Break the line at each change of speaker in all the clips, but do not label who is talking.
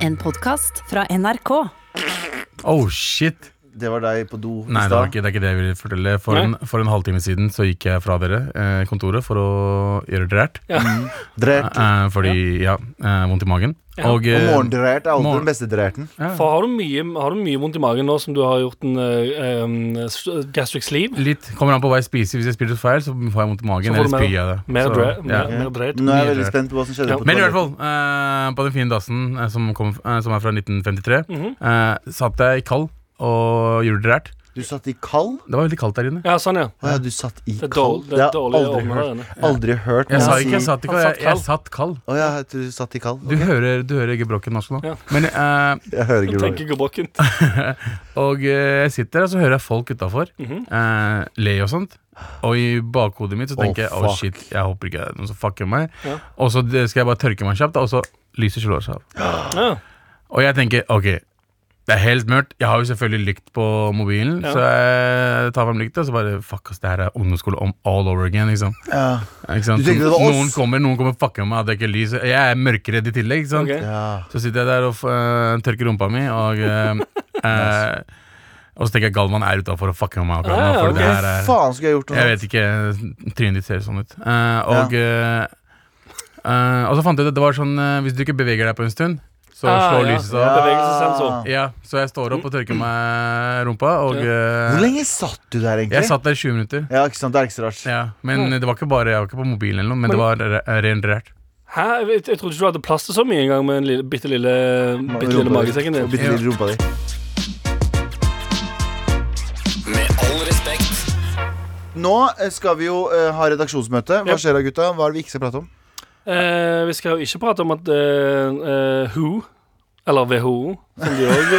En podkast fra NRK.
Oh shit!
Det var deg på do i
Nei, det, var
stad.
ikke, det er ikke det jeg ville fortelle. For
Nei.
en, for en halvtime siden så gikk jeg fra dere eh, kontoret for å gjøre drært.
Drert.
Eh, fordi, ja, eh, vondt i magen.
Ja.
Og,
Og
eh,
morgendrert er alltid
morgen-
den beste drerten.
ja,
For har du, mye, har du mye vondt i magen nå som du har gjort en eh, em, s- gastric sleeve?
litt kommer an på hva jeg spiser. Hvis jeg spiser feil, så får jeg vondt i
Så
magen.
får du
Eller
mer-
spyr jeg det.
mer
Så,
dre-
ja.
mer-
Ja.
Men drert.
Nå er jeg veldig
Mye
spent på hva som skjedde
Ja.
på
Men i hvert
toalettet.
fall, eh, på den fine dassen eh, som, kom, eh, som er fra 1953,
Mhm.
eh, satt jeg i kald og gjorde drært.
Du satt i kald?
Det var veldig kaldt der inne.
Ja, sånn, ja.
Å ja, du satt i
Det er
kald?
dårlig, det er dårlig
aldri
åpne
hørt.
her inne.
Aldri hørt
Jeg
noen
sa ikke jeg
si
satt i kald.
Han satt
Jeg, jeg
kald.
satt kald.
Å ja, jeg tror du satt i kald.
Du
Ok.
hører, du hører gebrokken norsk nå.
Ja.
Men eh,
Jeg hører
Jeg
ikke
tenker
bra.
ikke brokkent.
Og eh, jeg sitter der, og så hører jeg folk utafor
Mhm.
eh, le og sånt. Og i bakhodet mitt så
Å,
tenker jeg oh,
fuck.
shit, jeg håper ikke det er noen som fucker meg.
Ja.
Og så det- skal jeg bare tørke meg kjapt, og så lyset slår seg av.
Ja.
Og jeg tenker ok, det er helt mørkt. Jeg har jo selvfølgelig lykt på mobilen,
Ja.
så jeg tar frem lykta, og så bare fuck ass, det her er ungdomsskole om all over again. Liksom.
Ja.
Ikke sant?
Du tenker det var oss?
noen kommer, noen kommer fucker meg, at det ikke er lys. Jeg er mørkeredd i tillegg. Ikke sant?
ok.
ja.
Så sitter jeg der og eh, tørker rumpa mi, og eh, eh, Og så tenker jeg Galvan er utafor og fucker med meg akkurat nå.
Ah,
For
ok.
det her er,
Faen, skulle jeg gjort noe
jeg vet ikke, trynet ditt ser sånn ut. Eh, og, eh, eh, og så fant jeg ut at det var sånn eh, Hvis du ikke beveger deg på en stund, så
Ah,
slår
ja.
lyset seg av.
Bevegelsessensor.
Ja, så jeg står opp og tørker meg rumpa, og
Ja.
eh,
Hvor lenge satt du der, egentlig?
Jeg satt der i 20 minutter.
Ja, ikke sant, det er ikke så rart.
Ja, men det var ikke bare jeg var ikke på mobilen, eller noe, men det var re- eh, ren drært.
Hæ? Jeg, vet- jeg trodde ikke du hadde plass til så mye engang med den lille, bitte lille, bitte lille
Rumpa di.
magesekken
Og
din.
Bitte lille rumpa di.
Med all respekt.
Nå eh, skal vi jo eh, ha redaksjonsmøte.
Ja.
Hva skjer da, gutta? Hva er det vi ikke skal prate om?
Eh, vi skal jo ikke prate om at eh, eh, WHO, eller WHO, som de òg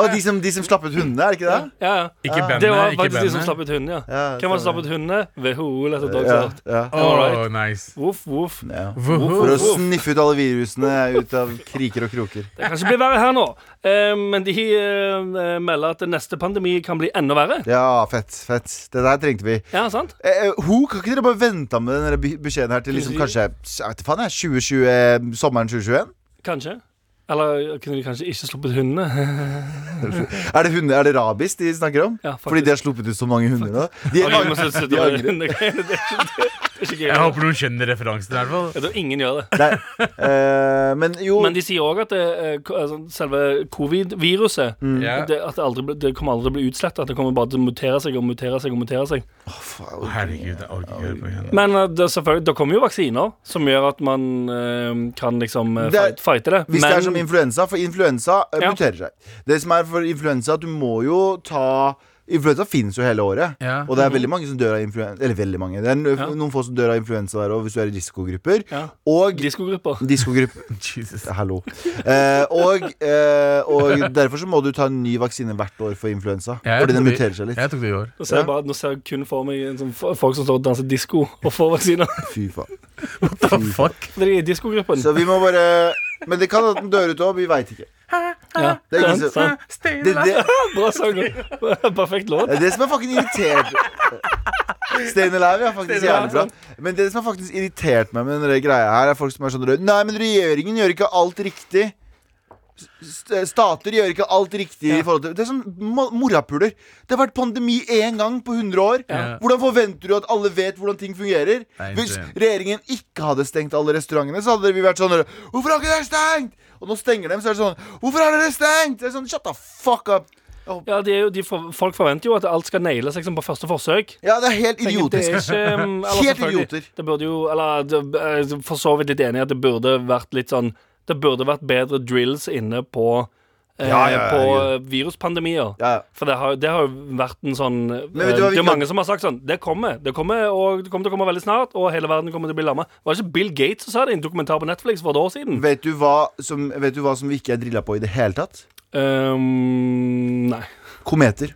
Å, de, som, de som slapp ut hundene, er det ikke det?
Ja, ja.
Ikke
Ja.
Det var
bandet, ikke
faktisk de som slapp
bandet.
ut hundene, ja.
Ja,
Hvem var det som slapp
stemmer.
ut hundene? WHO, Let the Dogs
Ja,
Out.
ja.
Oh, nice.
Voff, voff.
Ja.
Woohoo.
For å sniffe ut alle virusene ut av kriker og kroker.
Det kan ikke bli verre her nå. Eh, men de eh, melder at neste pandemi kan bli enda verre.
Ja, fett. fett Det der trengte vi.
Ja, sant?
Eh, eh, ho, kan ikke dere bare vente med den der be- beskjeden her til liksom kanskje jeg vet ikke faen, jeg, 2020, eh, sommeren 2021?
Kanskje. Eller eh, kunne de kanskje ikke sluppet hundene?
Er det, hunder, er det rabies de snakker om?
Ja, faktisk.
Fordi de har sluppet ut så mange hunder nå? De
Ok, vi må slutte- slutte med
angrer.
hundene. Det er ikke- det er ikke gøy.
Jeg håper noen skjønner referansen i hvert fall.
Jeg tror ingen gjør det.
Nei, eh, men jo
Men de sier òg at det, eh, ko- altså, selve covid-viruset
Mm.
Ja.
det, at det, aldri, blir- det kommer aldri til å bli utslettet. At det kommer bare til å mutere seg og mutere seg. og mutere seg
Å, Herregud, jeg orker ikke høre på igjen.
Men eh, det, er selvfølgelig, det kommer jo vaksiner som gjør at man eh, kan liksom eh,
Det er-
fight, fighte det.
Hvis det er som influensa, for influensa eh,
Ja.
muterer seg. Det som er for influensa, at du må jo ta Influensa finnes jo hele året.
Ja. Mhm.
Og det er veldig mange som dør av influensa. Eller veldig mange. Det er n-
Ja.
noen få som dør av influensa der òg, hvis du er i risikogrupper.
ja.
Og
Diskogrupper.
diskogrupper
Jesus.
Hallo. Eh, og, eh, og derfor så må du ta en ny vaksine hvert år for influensa.
Ja, jeg
fordi den
tror de-
muterer seg litt.
Jeg tok det i går.
Nå ser, jeg
Ja.
bare, nå ser jeg kun for meg en sånn, f- folk som står og danser disko og får vaksiner.
Fy faen.
The fuck?
Det er i diskogruppen.
Så vi må bare Men det kan at den dør ut òg, vi veit ikke.
Ja.
Det er ikke så
sant.
det, det,
Bra sang. Perfekt låt.
Det er det som er fucking irritert Staying Alive, ja. faktisk
Staying Alive,
jævlig bra. Men det som har faktisk irritert meg med den greia her, er folk som er sånn rød Nei, men regjeringen gjør ikke alt riktig. St- Stater gjør ikke alt riktig i forhold til Det er sånn mo- morapuler. Det har vært pandemi én gang på 100 år.
Ja.
Hvordan forventer du at alle vet hvordan ting fungerer?
Nei, ikke
Hvis
det.
regjeringen ikke hadde stengt alle restaurantene, så hadde vi vært sånn Hvorfor har ikke dere stengt? Og nå stenger dem, så er det sånn Hvorfor har dere stengt? Det er sånn, Shut the fuck up.
Ja, det er jo, de for, folk forventer jo at alt skal nailes liksom, på første forsøk.
Ja, det er helt
Tenker,
idiotisk.
Det er ikke, um, eller
Helt
selvfølgelig,
idioter.
Det burde jo, eller det- jeg er for så vidt litt enig i at det burde vært litt sånn Det burde vært bedre drills inne på, eh,
Ja, ja, ja,
på viruspandemier.
Ja, ja.
For det har, det har jo vært en sånn eh,
Men vet du hva vi
Det er
kan-
mange som har sagt sånn Det kommer, det kommer, og det kommer til å komme veldig snart, og hele verden kommer til å bli lamma. Var det ikke Bill Gates som sa det i en dokumentar på Netflix for et år siden?
Vet du, hva som, vet du hva som vi ikke er drilla på i det hele tatt?
Um, nei.
Kometer.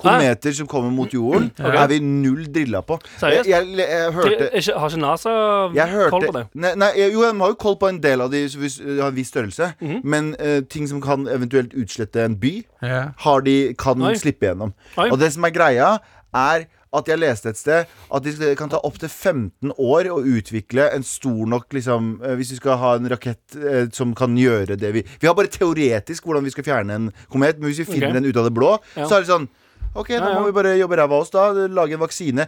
Kometer som kommer mot jorden, er vi null drilla på. Jeg,
Seriøst?
jeg, jeg
Er
hørte
ikke- Har ikke NASA
jeg
koll på
hørte,
det?
nei, nei, jo, de har jo koll på en del av de så hvis de har en viss størrelse.
Mhm.
Men eh, ting som kan eventuelt utslette en by,
Ja.
har de, kan
Oi.
slippe gjennom.
Oi.
Og det som er greia, er at jeg leste et sted at det skal- kan ta opptil 15 år å utvikle en stor nok liksom, eh, Hvis vi skal ha en rakett eh, som kan gjøre det vi Vi har bare teoretisk hvordan vi skal fjerne en komet, men hvis vi finner
Ok.
den ut av det blå,
Ja.
så er det sånn OK, da
Ja, ja.
må vi bare jobbe ræva av oss, da. Lage en vaksine.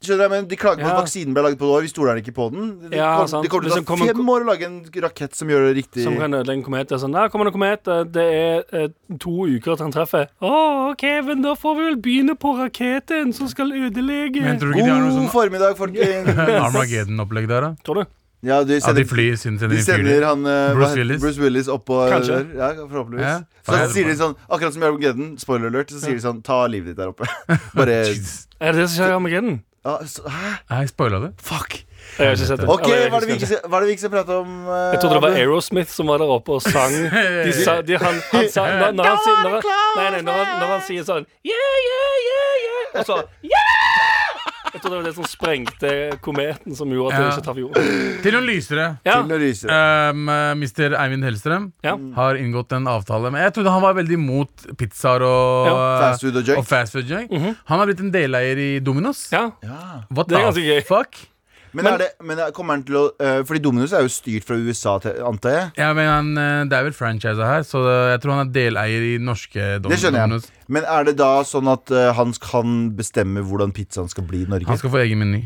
Skjønner jeg, men De klager på
Ja.
at vaksinen ble laget på et år. Vi stoler ikke på den. Det
Ja,
kom-
sant.
det kommer til å ta
Hvis den kommer-
fem år å lage en rakett som gjør det riktig.
Som kan ødelegge en komet. Det er sånn, der kommer det en komet, eh, det er eh, to uker til han treffer. Å, OK, men da får vi vel begynne på raketten som skal ødelegge.
Men tror du ikke de har noe
God
sånn
formiddag, folkens.
Armageddon-opplegg der, da?
Tror du?
Ja, du
Ja,
sender,
de flyr sin sender
de
inn fyrer.
sender han eh,
Bruce
hva-
Willis.
Bruce Willis oppå
Kanskje.
der. Ja, forhåpentligvis.
Ja.
Så,
Ja,
sier de
det
sånn, akkurat som i Armageddon, spoiler alert, så sier de sånn Ta livet ditt der oppe. Bare
Jeez.
Er det det som skjer i Armageddon?
ja, så, Hæ?
Jeg spoila det.
Fuck.
Jeg har ikke sett det.
OK,
Eller, jeg
hva er det vi
husker
ikke
det.
skal- hva er det vi ikke skal prate om? eh,
Jeg trodde det var
Abu?
Aerosmith som var der oppe og sang. De sa, de, han, han sa når, når, han, sier- når, han- nei, nei, når, han, når han sier sånn Yeah, yeah, yeah, yeah Og så Yeah! Jeg trodde det var det som sprengte kometen som gjorde at det
Ja.
ikke traff jorden.
Til noen lysere.
Ja,
Til å ryse.
Um, eh, Mr. Eivind Hellstrøm
ja.
har inngått en avtale med Jeg trodde han var veldig imot pizzaer og eh,
Ja.
Fast food og junk.
og fast food junk. Han har blitt en deleier i Dominos.
mhm. ja.
Ja.
What
Det er
the
ganske gøy.
fuck?
Men, er det, men er- kommer han til å eh, Fordi Dominus er jo styrt fra USA, til, antar jeg.
Ja, men han, eh, Det er vel franchise her, så eh, jeg tror han er deleier i norske Dom
Det skjønner jeg.
Dominos.
Men er det da sånn at eh, han kan bestemme hvordan pizzaen skal bli i Norge?
Han skal få egen meny.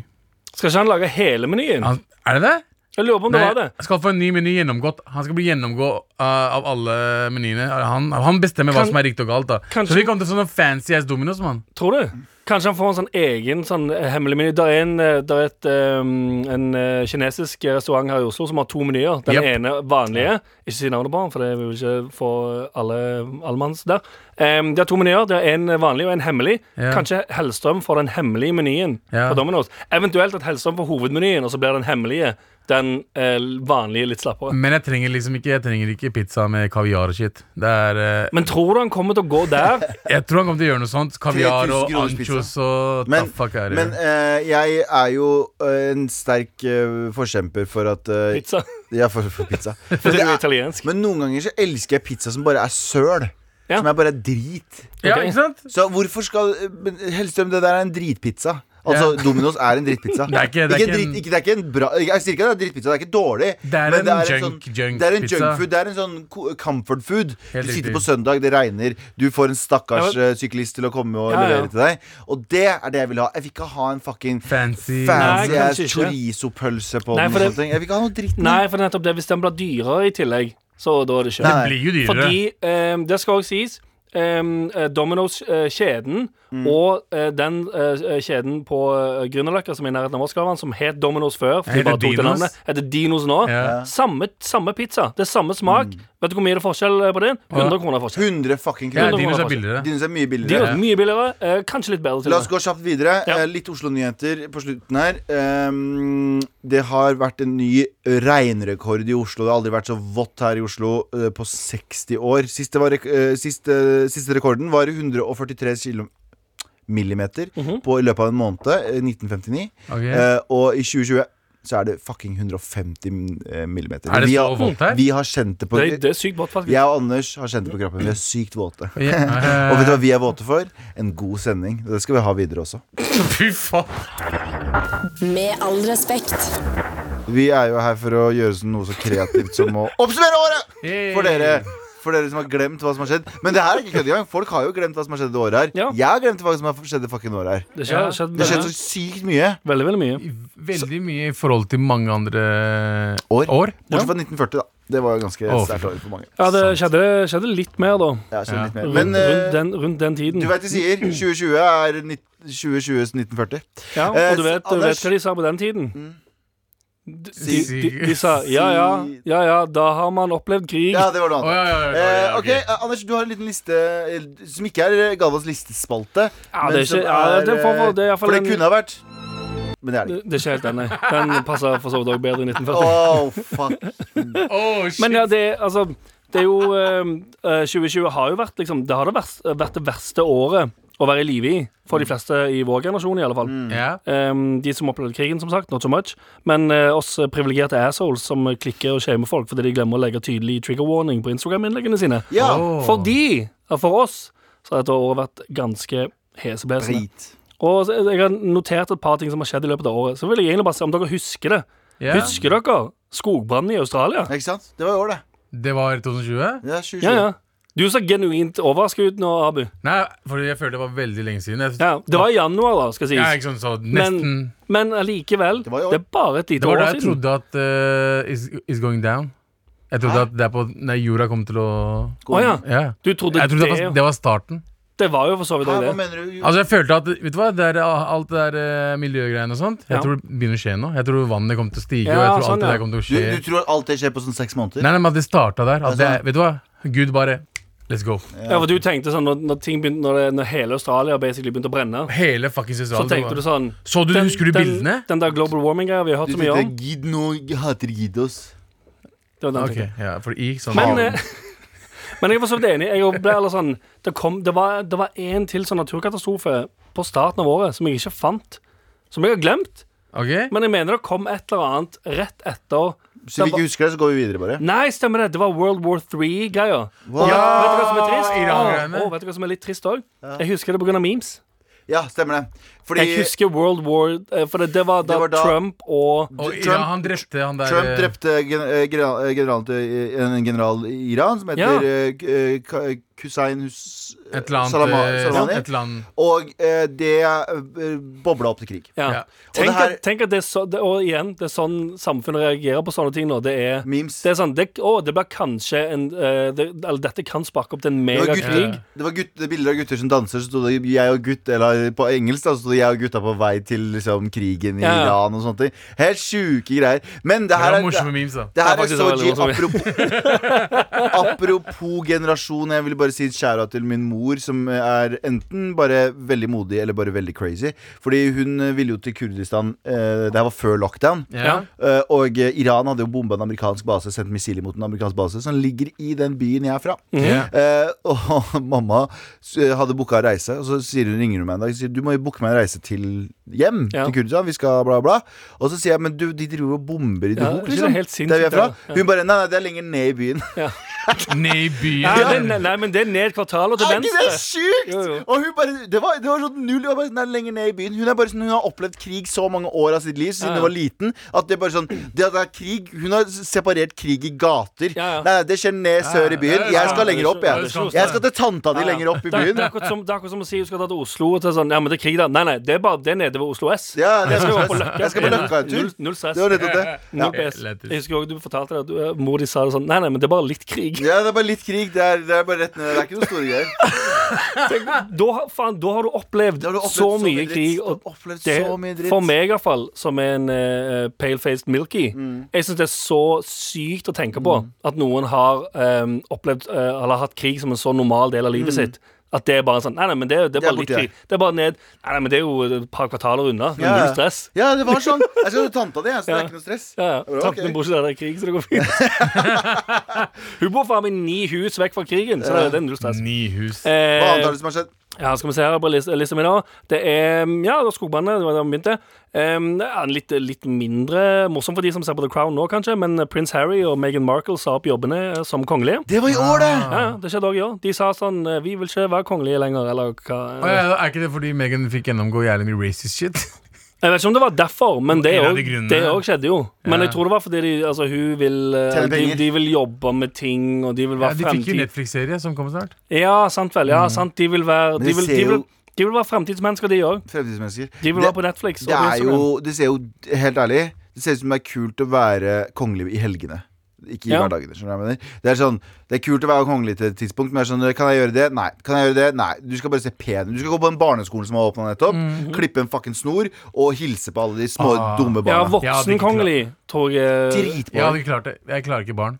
Skal ikke han lage hele menyen?
Han- Er det det?
Jeg lurer på om det var det.
han skal få en ny meny gjennomgått. Han skal bli gjennomgå eh, av alle menyene. Han, han bestemmer
Kan-
hva som er riktig og galt. da
Kanskje-
Så vi kommer til sånne fancy ass Dominos, mann.
Tror du? Kanskje han får en sånn egen sånn eh, hemmelig meny. Der er, en, eh, der er et, eh, en eh, kinesisk restaurant her i Oslo som har to menyer. Den
Jep.
ene vanlige. Ikke si navnet på den, for det vil vi ikke få alle allmanns der. Em, de har to menyer. Det er en vanlig og en hemmelig.
Ja.
Kanskje Hellstrøm får den hemmelige menyen
Ja.
på Domino's. Eventuelt at Hellstrøm får hovedmenyen, og så blir den hemmelige den eh, vanlige litt slappere.
Men jeg trenger liksom ikke Jeg trenger ikke pizza med kaviar og shit. Det er eh,
Men tror du han kommer til å gå der?
Jeg tror han kommer til å gjøre noe sånt. Kaviar
3000
og
kroners pizza.
anchos og
Men,
ta fuck er det.
men eh, jeg er jo eh, en sterk eh, forkjemper for at eh,
Pizza?
Ja, for, for pizza.
For
Men,
det er jo
det er,
italiensk.
men noen ganger så elsker jeg pizza som bare er søl.
Ja.
Som er bare drit.
Ja,
ok.
ikke sant?
Så hvorfor skal men Hellstrøm, det der er en dritpizza. Altså,
Ja.
Domino's er en drittpizza.
Det er ikke- det er
ikke, en
ikke
dritt-
en-
ikke, det er ikke en bra Jeg sier ikke at det er drittpizza, det er ikke dårlig.
Det er
men
en junk- junk
Det er en
pizza.
junkfood. Det er en sånn ko- comfort food.
Helt
du sitter
riktig.
på søndag, det regner, du får en stakkars
Ja, men-
eh, syklist til å komme og
Ja, ja.
levere til deg. Og det er det jeg vil ha. Jeg vil ikke ha en fucking
Fancy.
Nei,
fancy ass
kanskje ikke.
chorizo-pølse på
Nei,
den. og
for det-
sånne ting. Jeg vil ikke ha noe dritt. nå.
Nei, for nettopp det. Hvis den blir dyrere i tillegg, så da er det ikke.
Nei.
Det blir jo dyrere.
Fordi, ehm, det skal også sies ehm, eh, Domino's-kjeden
Mm.
og eh, den eh, kjeden på uh, Grünerløkka som er i nærheten av Moskvaen, som het Domino's før, for
Heter
de bare tok det
Dinos.
navnet, heter Dinos nå.
Ja.
Samme, samme pizza. Det er samme smak.
Mm.
Vet du hvor mye det er forskjell eh, på det? 100 kroner forskjell.
100 fucking
Ja,
kroner.
Dinos
kroner
er billigere.
Dinos er mye
De
billigere.
er mye billigere. eh, kanskje litt bedre til
La oss
og med.
gå kjapt videre.
Ja.
Eh, Litt Oslo-nyheter på slutten her. Ehm, det har vært en ny regnrekord i Oslo. Det har aldri vært så vått her i Oslo eh, på 60 år. Siste, var, rek- eh, siste, siste rekorden var 143 kilo millimeter
Mhm.
på, i løpet av en måned. eh, 1959.
Ok.
Eh, og i 2020 så er det fucking 150 eh, millimeter.
Er det
vi,
så
har,
vått her?
vi har kjent det på
Det, det er sykt vått, faktisk.
Jeg og Anders har kjent det på kroppen. Vi er sykt våte.
Ja,
Og vet du hva vi er våte for? En god sending. Det skal vi ha videre også.
Fy faen.
Med all respekt.
Vi er jo her for å gjøre sånn noe så kreativt som å oppsummere året!
Hey.
For dere, for dere som har glemt hva som har skjedd. Men det her er ikke kødd engang. Folk har jo glemt hva som har skjedd det året her.
Ja.
Jeg har glemt hva som har skjedd det fucking året her.
Det
Ja.
har skjedd
Det har skjedd
veldig,
så sykt mye.
veldig, veldig mye.
Veldig mye i forhold til mange andre
År.
år.
Bortsett fra 1940, da. Det var jo ganske
Å,
sterkt år for mange.
Ja, det skjedde, skjedde litt mer, da.
Jeg har skjedd
Ja.
litt mer.
Rundt,
Men
rundt,
eh,
den, rundt den tiden.
du vet de sier 2020 er 2020s 1940.
Ja,
Eh,
og du vet, du vet
Anders- Mm.
hva de sa på den tiden? De, de,
Si-
de, de sa ja, ja, ja, ja, da har man opplevd krig.
Ja, det var noe annet.
Å, ja, ja, ja, ja,
Eh,
ja,
ok, eh, Anders, du har en liten liste eh, som ikke er eh, Galvans listespalte.
Ja,
men
det er
som eh,
ikke- ja, det er for- for- det er i hvert fall
for det
en-
kunne ha vært. Men det er det ikke.
Det det er ikke helt den, nei. Den passer for så vidt også bedre i 1940.
Oh, fuck.
Å, shit.
Men ja, det er altså Det er jo eh, eh, 2020 har jo vært liksom Det har det vers- vært det verste året å være i live i. For
Mm.
de fleste i vår generasjon, i alle fall.
ja.
Ehm, de som opplevde krigen, som sagt, not so much. Men eh, oss privilegerte assholes som klikker og shamer folk fordi de glemmer å legge tydelig trigger warning på Instagram-innleggene sine.
Ja.
Å.
Fordi, ja, for oss, så har dette året vært ganske heseblesende.
Drit.
Og så- eh, jeg har notert et par ting som har skjedd i løpet av året. Så vil jeg egentlig bare se om dere husker det.
Ja.
Husker dere skogbrannen i Australia?
Ikke sant? Det var i år, det.
Det var 2020?
Det er 2020.
Ja, ja. Du så genuint overrasket ut nå, Abu.
Nei, fordi jeg følte det var veldig lenge siden. Jeg,
Ja, det var i januar, da, skal sies.
ja, ikke sant, så nesten
men, men allikevel.
var i år.
Det er bare et lite
Det var da
år
jeg
siden.
trodde at eh, is, is going down. Jeg trodde at det er på Nei, jorda kom til å
Å ja.
Ja.
Du trodde,
Jeg trodde det var,
det,
det var starten.
det var jo for så vidt
Hæ, hva
også det.
mener du?
Altså jeg følte at Vet du hva, det er alt det der eh, miljøgreiene og sånt Jeg
Ja.
tror det begynner å skje nå. Jeg tror vannet kommer til å stige.
Ja,
og jeg tror
sånn,
alt det
ja.
der kommer til å
Du,
skje
du tror at alt det skjer på sånn seks måneder?
Nei, nei, men at det starta der. At det,
Ja, sånn.
vet du hva? Gud bare Let's go.
Ja, for du tenkte sånn når, når, ting begynte, når, det, når hele Australia basically begynte å brenne,
Hele fuckings
så
Australia.
tenkte du sånn
Så du,
den-
husker du
den-
bildene?
Den der global warming-greia vi har
Du
hørt så mye om.
tenkte gidd nå, hater gidd oss.
Det var den jeg
Ok,
tenkte.
ja, for I sånn
Men, eh, men jeg var så vidt enig. Jeg ble eller sånn, det, kom, det, var, det var en til sånn naturkatastrofe på starten av året som jeg ikke fant. Som jeg har glemt.
Ok?
Men jeg mener det kom et eller annet rett etter.
Hvis vi
Det var-
ikke husker det, så går vi videre, bare.
Mm.
Nei, stemmer det. Det var World War III-greier.
Wow.
Vet du hva
Ah,
som er trist? Ah,
Iran-greiene.
Å, å, vet du hva som er litt trist òg? Jeg husker det pga. memes.
Ja, stemmer det. Fordi
Jeg husker World War eh, For det, det var da
Det var da-
Trump og
Og
Trump-
Iran, han drepte han der
Trump
eh,
drepte gen eh, general, eh, generalen til eh, en general i Iran som
Ja.
heter eh, K- eh, Ka- Hussein Hus
et eller annet,
Salama-
eh,
Salamani.
Et eller annet
Og eh, det eh, bobla opp til krig.
Ja.
Ja.
Tenk,
Og det her-
at, tenk at det er så det, Og igjen, det er sånn samfunnet reagerer på sånne ting nå. Det er
Memes.
det er sånn det, Å, det blir kanskje en eh, det, Eller dette kan sparke opp til en
Det var,
megakrig.
gutter, det var gutter, bilder av gutter som danser, så sto det 'jeg og gutt' Eller på engelsk da, så sto det 'jeg og gutta på vei til liksom, krigen i
Ja, ja.
Iran' og sånne ting. Helt sjuke greier. Men det
Det
her
var
er
morsomme memes, da.
Det her
Det er
er
faktisk
så
veldig morsomt.
apropos, apropos generasjon. Jeg vil bare si skjæra til min mor, som er enten bare veldig modig eller bare veldig crazy. Fordi hun eh, ville jo til Kurdistan eh, Det her var før lockdown.
Ja.
Eh, og eh, Iran hadde jo bomba en amerikansk base, sendt missiler mot en amerikansk base, som ligger i den byen jeg er fra.
Ja.
Eh, og mamma s- eh, hadde booka reise, og så sier hun, ringer hun meg en dag og sier du må jo booke meg en reise til hjem.
Ja.
Til Kurdistan, vi skal bla, bla. Og så sier jeg men du, de driver og bomber i
Ja,
Dohuk,
det er
liksom.
helt sinnssykt,
Der vi er fra.
ja.
Hun bare nei, nei, det er lenger ned i byen.
Ned i
Nei, det-
byen.
nei, nei, men det er ned kvartalet til
Er ikke det
venstre.
sjukt?!
Jo, jo.
Og hun bare Det var, det var sånn null. det Var bare, sånn, nei, lenger ned i byen. Hun, er bare sånn, hun har opplevd krig så mange år av sitt liv siden
Ja, ja.
hun var liten. At det er bare sånn Det at det er krig Hun har separert krig i gater.
Ja, ja.
Nei, nei, det skjer ned sør i byen.
Ja, ja,
Jeg skal lenger opp,
det
jeg.
skjønner jeg.
Jeg skal til tanta di lenger opp i
Det, det,
byen.
er akkurat som, det er akkurat som å si du skal dra til Oslo og til sånn Ja, men det er krig, da. Nei, nei, det er bare det er nede ved Oslo S.
Ja, det
jeg
er
skal bare på
stress.
Løkka.
Jeg skal på Løkka en tur.
Null, null stress.
Det var nettopp det. Ja.
Null PS.
Lettest.
Jeg husker også du fortalte det at du, eh, mor di sa det sånn Nei, nei, men det er bare litt krig.
ja, det er bare litt krig. Det er, det er bare rett ned. Det er ikke noe store greier.
Da, har- faen, da har du opplevd,
Da har du opplevd
så mye
dritt.
krig.
Du har
Og
opplevd
det,
så mye dritt.
for meg iallfall, som er en eh, pale-faced milky,
Mm.
jeg syns det er så sykt å tenke på at noen har eh, opplevd eh, eller hatt krig som en så normal del av
Mm.
livet sitt. At det er bare sånn Nei, nei, men det, er- det
Det
er
er
bare litt
borti her.
krig. Det er bare ned Nei, nei, men det er jo et par kvartaler unna. Det er
Ja, ja.
Null stress.
Ja, det var sånn. Jeg skal til tanta di, jeg, så det er ikke noe stress.
Ja, ja.
Bra,
Tanten
ok.
min bor ikke der det er krig, så det går fint. Hun bor faen meg ni hus vekk fra krigen, så det er- det er null stress.
Ni hus.
altså. Eh,
Hva annet er det som har skjedd?
Ja, skal vi se her på lista, lista mi da. Det er mm, ja, det var skogbrandet, det var der vi begynte. Em, det er litt, litt mindre morsom for de som ser på The Crown nå, kanskje, men prins Harry og Meghan Markle sa opp jobbene eh, som kongelige.
Det var i år, det!
Ja, ja, det skjedde òg i år. De sa sånn eh, Vi vil ikke være kongelige lenger, eller hva eh.
Å, ja, er ikke det fordi Megan fikk gjennomgå jævlig mye racist shit?
Jeg vet ikke om det var derfor, men det
En av
òg
de grunnene.
det òg skjedde jo. Men
Ja.
jeg tror det var fordi de, altså, hun vil eh,
Tjene
de,
penger.
de vil jobbe med ting, og de vil
Ja,
være
de fikk jo Mm.
fremtid...
Netflix-serie som kommer snart.
Ja, sant vel. Ja, sant. De vil være
Men
De
jeg
vil,
ser
de vil,
jo-
de vil være fremtidsmennesker, de òg.
Fremtidsmennesker.
De vil
Det-
være på Netflix. og
Det
på
er
Instagram.
jo, det ser jo helt ærlig Det ser ut som det er kult å være kongelig i helgene. Ikke i
Ja.
hverdagene. skjønner du hva jeg mener Det er sånn, det er kult å være kongelig til et tidspunkt, men jeg skjønner, kan jeg gjøre det? Nei. Kan jeg gjøre det? Nei Du skal bare se pen ut. Du skal gå på den barneskolen som har åpna nettopp, klippe en fucking snor og hilse på alle de små,
Ah.
dumme
Mhm. Ja,
barna.
Jeg hadde
voksen
ikke
kongelig, tror jeg.
Dritbra.
Jeg hadde ikke klart det. Jeg klarer ikke barn.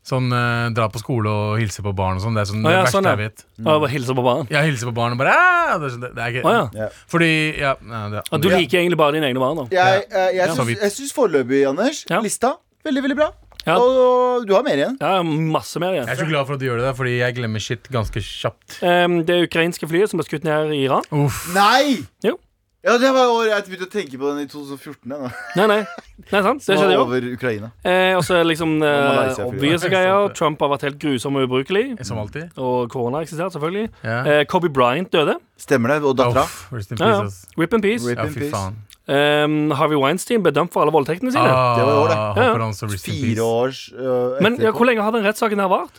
Sånn eh, dra på skole og hilse på barn og sånn. Det er sånn
Å, ja,
det verste
sånn, ja.
jeg vet.
Og jeg bare hilser på barn.
Jeg hilser på barn og bare «Ah!» det er, sånn, det, det er ikke
Å, ja.
Ja.
Fordi ja, nei, det,
Ja, du liker egentlig bare dine egne barn, da.
Jeg, eh, jeg,
Ja. Så
syns-
vidt.
jeg syns foreløpig, Anders,
Ja.
lista veldig, veldig bra.
Ja.
Og du har mer igjen.
Ja, masse mer
Jeg
igjen.
er så glad for at du gjør det, der, fordi jeg glemmer shit ganske kjapt.
Ehm, det ukrainske flyet som ble skutt ned i Iran.
Uff.
Nei!
Jo.
Ja, det var året jeg begynte å tenke på den i 2014. jeg, da.
Nei, nei. nei sant?
Som
Det
var
skjedde jo.
over Ukraina.
Eh, og så er det liksom eh,
Malaysia, fy
obvious
faen.
greier. Trump har vært helt grusom og ubrukelig.
Som alltid.
Og korona har eksistert, selvfølgelig.
Ja.
Eh, Kobe Bryant døde.
Stemmer det? Og dattera?
Uff, rest in
Ja,
peace,
ja.
ass.
Rip in peace.
Rip
Ja,
in
fy
peace.
faen.
Ehm, Harvey Weinstein ble dømt for alle voldtektene sine.
Ah,
Det var i år, det.
Ja, ja.
Håper han så rest in
Fire
peace.
års øh,
Men ja,
etterpå. Øh,
hvor lenge har den rettssaken her vart?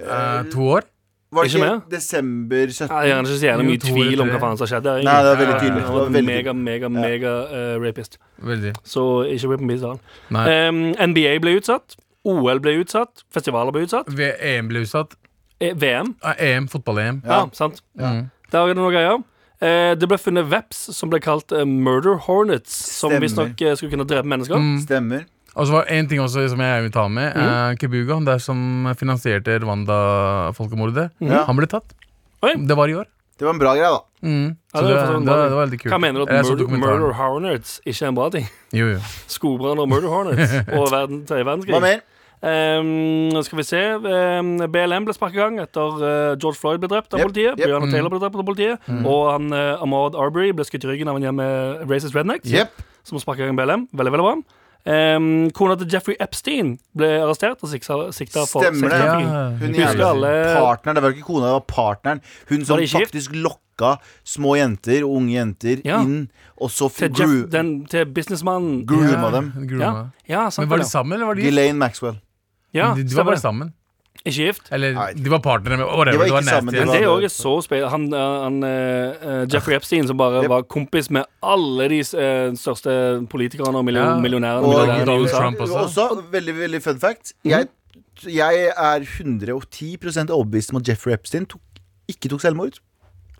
Eh, to år?
Var det
Ikke
ikke
mer?
desember 17?
Ja, Jeg er ikke så jævlig
Jo,
mye
to eller
tvil om hva
tre.
faen som skjedde. egentlig.
Nei, det er veldig
tydelig.
Ja,
Det var
Han var
veldig
mega, mega, mega eh, rapist.
Veldig.
Så ikke rip in peace til han.
Nei.
Ehm, NBA ble utsatt. OL ble utsatt. Festivaler ble utsatt.
V- EM E ble utsatt.
Eh, VM.
Ah, EM, fotball-EM.
Ja,
Ja.
sant.
Mm.
Der er det noen greier. Eh, det ble funnet veps som ble kalt eh, murder hornets, som
Stemmer.
visstnok eh, skulle kunne drepe mennesker.
Mm.
Stemmer.
Og så var det en ting også som jeg vil ta med. eh, Kibuga, der som finansierte Rwanda-folkemordet,
Mm.
Ja.
han ble tatt.
Oi.
Det var i år.
Det var en bra greie, da.
Mm. Så
Ja, det
det,
var
det,
for sånn
det,
vanlig.
var veldig kult.
Hva mener du
Jeg
at
så
murder,
dokumentaren.
murder hornets ikke er en bra ting?
Jo, jo.
Skogbrann og murder hornets og verden, tredje
Hva
verdenskrig.
mer?
Ehm, nå skal vi se. Ehm, BLM ble sparket i gang etter eh, George Floyd ble drept av
Yep,
politiet.
yep.
Mm.
Mm.
Breonna Taylor ble drept av politiet. Og han eh, Ahmaud Arbery ble skutt i ryggen av en gjeng med racist rednecks.
Jepp.
Som sparket i gang BLM. Veldig, veldig bra. Ehm, kona til Jeffrey Epstein ble arrestert og sikta sikta for
Stemmer det.
sextrafikking.
Hun
Husker
jævla
alle-
partneren. Det var ikke kona, det var partneren. Hun som
det ikke gift?
faktisk lokka små jenter og unge jenter
Ja.
inn, og så f-
Til, Jeff,
gro
den, til businessmannen.
grooma dem.
Grooma.
Ja, ja, sant
Men var
det.
de sammen, eller var de
Ghislaine Maxwell.
Ja,
de, de var
stemmer
bare
det.
sammen.
Ikke gift.
Eller
Nei.
de var partnere med whatever.
De
Det
var
var,
ikke
nasty.
sammen, de
ass.
Men
var-
det er òg så spesielt. Han, eh, han eh, eh, Jeffrey Epstein, som bare
Yep.
var kompis med alle de eh, største politikerne og million
Ja.
millionærene.
Og
milliardærene i
Donald
USA.
Trump også.
veldig, veldig fun fact. Jeg, jeg er 110 overbevist om at Jeffrey Epstein tok, ikke tok selvmord.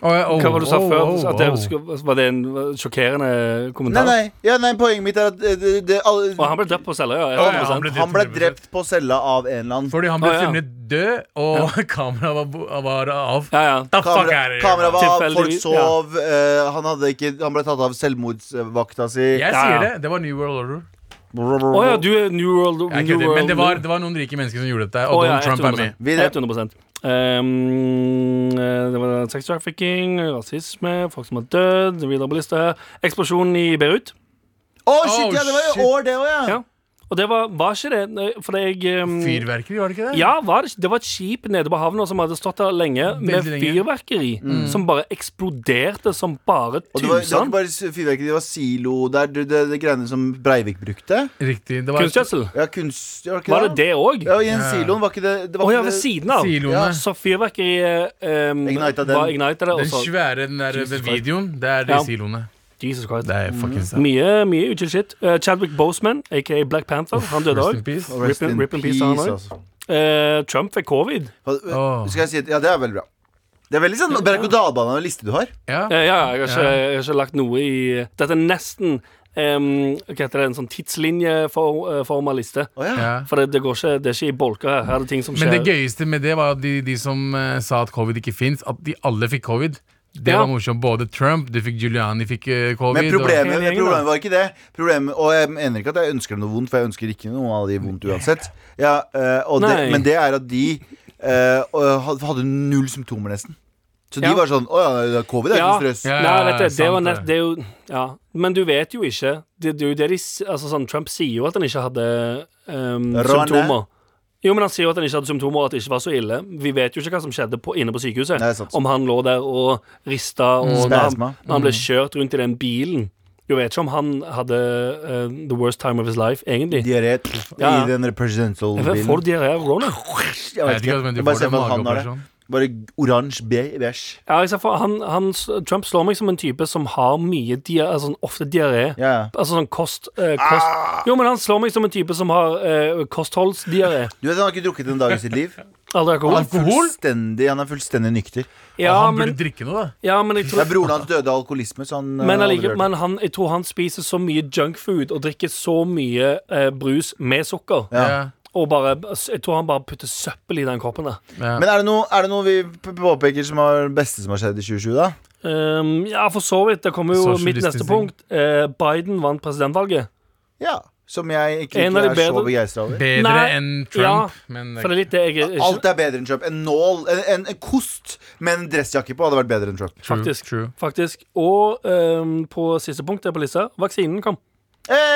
Åh, ja, åh,
Hva var det du sa
åh,
før?
åh,
at det,
åh.
skulle- var det en sjokkerende
Nei,
kommentar?
nei, ja, nei poenget mitt er at eh, det, det, alle,
Og han ble drept på Seløya.
Åh,
Ja,
ja, han
100%.
ble drept.
han ble drept på cella av en eller annen.
Fordi han ble
Å, ja.
funnet død, og kameraet var, bo- var av.
ja, ja.
The fuck
Kamera,
er det?
kamera var av, folk
Tilfeldigvis,
sov, eh, han, hadde ikke, han ble tatt av selvmordsvakta si.
Jeg
Ja, ja.
sier det. Det var New World Order.
Å ja, du er New World,
Jeg er
New
kødder, men det var,
World.
det var noen rike mennesker som gjorde dette, og
Å, ja,
Donald Trump er
100%.
med.
Videre.
100 Ehm, eh, Det var sex trafficking, rasisme, folk som har dødd, videre på lista her. Eksplosjonen i Beirut.
Å, shit, ja, det var
shit.
i år, det òg, ja.
Oh, Ja. Og det var, var ikke det Nei, For jeg um,
Fyrverkeri, var det ikke det?
Ja, var det, ikke- det var et skip nede på havna som hadde stått der lenge med
lenge. Mm.
fyrverkeri. Som bare eksploderte som bare
Og det var, det var ikke
tusen.
bare fyrverkeri, det var silo der, det, det, det greiene som Breivik brukte.
Riktig. Det var
Kunstgjødsel.
Ja, kunst... Var, ikke
Var det det òg?
Ja, og i den
Ja.
siloen var ikke det det
Å
var
ja,
ikke
ved
det-
siden av.
siloene.
Så fyrverkeriet um,
Ignited den.
var ignited, og
Den
så
svære den der, den
Christ.
videoen, det er de
Ja. Mm.
siloene.
Jesus Christ.
Det er fucking sad.
Mye mye uchill shit. Eh, Chadwick Boseman, aka Black Panther, han døde
Rest in
òg.
peace.
Rest
Rip in-
in
rip in peace,
peace,
han også.
altså.
Trump fikk covid.
Hva- Skal jeg si at, Ja, det er veldig bra. Det er veldig sånn berg og dal liste du har.
Ja.
Eh, ja, jeg har, ikke, jeg har ikke lagt noe i Dette er nesten em, Hva heter det, en sånn eh, tidslinjeforma liste.
Å, ja.
Ja.
For det, det, går ikke, det er ikke i bolker her. Her er det ting som
Men
skjer.
det gøyeste med det var at de, de som eh, sa at covid ikke fins, at de alle fikk covid. Det
Ja.
var morsomt. Både Trump, du fikk Giuliani fikk eh, covid.
Men problemet,
Hele gjengen, da.
problemet var ikke det. Problemet, og jeg mener ikke at jeg ønsker dem noe vondt, for jeg ønsker ikke noen av de vondt uansett. Ja, eh, og det,
Nei.
men det er at de eh, og had- hadde null symptomer, nesten. Så de
Ja.
var sånn Å ja, det er covid, det er ikke
ja.
noe stress.
Ja,
Nei, vet du, det,
sant
var
det.
nett, det er jo Ja. Men du vet jo ikke. Det, det er jo det de s- Altså sånn Trump sier jo at han ikke hadde em,
Rane.
symptomer. Jo, men Han sier jo at han ikke hadde symptomer, og at det ikke var så ille. Vi vet jo ikke hva som skjedde på, inne på sykehuset.
Nei, sant. Mm.
om han lå der og rista, og da han,
Spasma.
han ble
Mm.
kjørt rundt i den bilen. Du vet ikke om han hadde eh, the worst time of his life, egentlig.
Diaré
Ja, ja.
i den presidential bilen.
Får du diaré av corona?
Jeg vet ikke.
men de
Jeg bare
får
ser
det
for meg at han har det.
mageoperasjon.
Bare oransje, be- beige.
Ja, jeg ser for- han, han, Trump slår meg som en type som har mye diaré, altså, sånn ofte diaré.
Ja, Ah! ja.
Altså sånn kost, eh, kost Jo, men han slår meg som en type som har eh, kostholdsdiaré.
Du vet han har ikke drukket en dag i sitt liv. Han
Aldri alkohol.
er fullstendig, han er fullstendig nykter.
Ja,
han burde
men,
drikke noe, da.
ja, men jeg
Ja,
tror
broren hans døde av alkoholisme, så han eh,
men,
har aldri
allike,
hørt.
men han, jeg tror han spiser så mye junkfood og drikker så mye eh, brus med sukker.
Ja.
Ja.
Og bare, jeg tror han bare putter søppel i den koppen der.
Ja.
Men er det, noe, er det noe vi p- påpeker som er det beste som har skjedd i 2020, da?
Ehm, ja, for så vidt. Det kommer jo
Social
mitt neste
distancing.
punkt. Eh, Biden vant presidentvalget.
Ja. Som jeg ikke
En av de
er så
bedre.
begeistra over.
Bedre
Nei,
enn
ja,
Trump, men eh,
For det er litt det jeg er
Alt er bedre enn Trump. En nål, en, en, en kost med en dressjakke på hadde vært bedre enn Trump.
true,
faktisk.
True.
Faktisk. Og ehm, på siste punkt der på lista, vaksinen kom.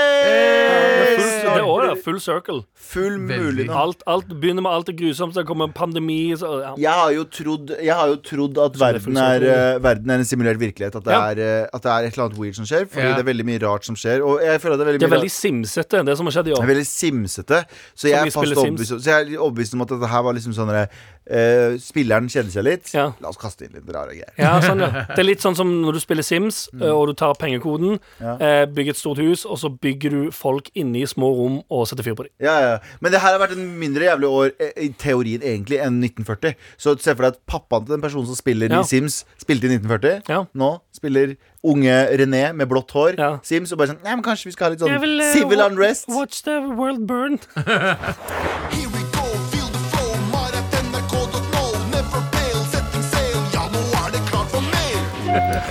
Det er
Hey!
full, det er også, ja, full circle.
Full mulig
Veldig.
nå.
Alt, alt begynner med alt det grusomme, så kommer pandemi så, ja.
Jeg har jo trodd, jeg har jo trodd at
det er
verden er,
fullstendig.
eh, verden er en simulert virkelighet. At det,
Ja.
er, eh, at det er et eller annet weird som skjer. Fordi
Ja.
det er veldig mye rart som skjer. Og jeg føler at det er veldig
Det er
mye
veldig simsete, det som har skjedd i
Det
år.
er veldig simsete. Så jeg,
vi
er fast
spiller
overbevist, så jeg er overbevist om at dette her var liksom sånn derre, eh, Spilleren kjenner seg litt.
Ja.
La oss kaste inn litt rare greier.
Ja, sånn, ja. Det er litt sånn som når du spiller Sims, eh, og du tar pengekoden,
Mm. Ja.
eh, bygger et stort hus, og så bygger du folk inne i små rom og setter fyr på dem.
Ja, ja. Men det her har vært en mindre jævlig år eh, i teorien egentlig enn 1940. Så se for deg at pappaen til den personen som spiller
Ja.
i Sims, spilte i 1940.
Ja.
Nå spiller unge René med blått hår
Ja.
Sims og bare sånn Nei, men kanskje vi skal ha litt
Jeg
sånn
vil, eh,
civil
wa-
unrest.
Watch the world burn.
Here we go, feel the flow. Mar at nrk.no. Never fail, setting sail. Ja, nå er det klart for mer.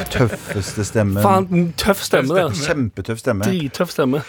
Tøffeste stemmen.
Faen, tøff stemme, det.
Kjempetøff stemme.
Drittøff stemme.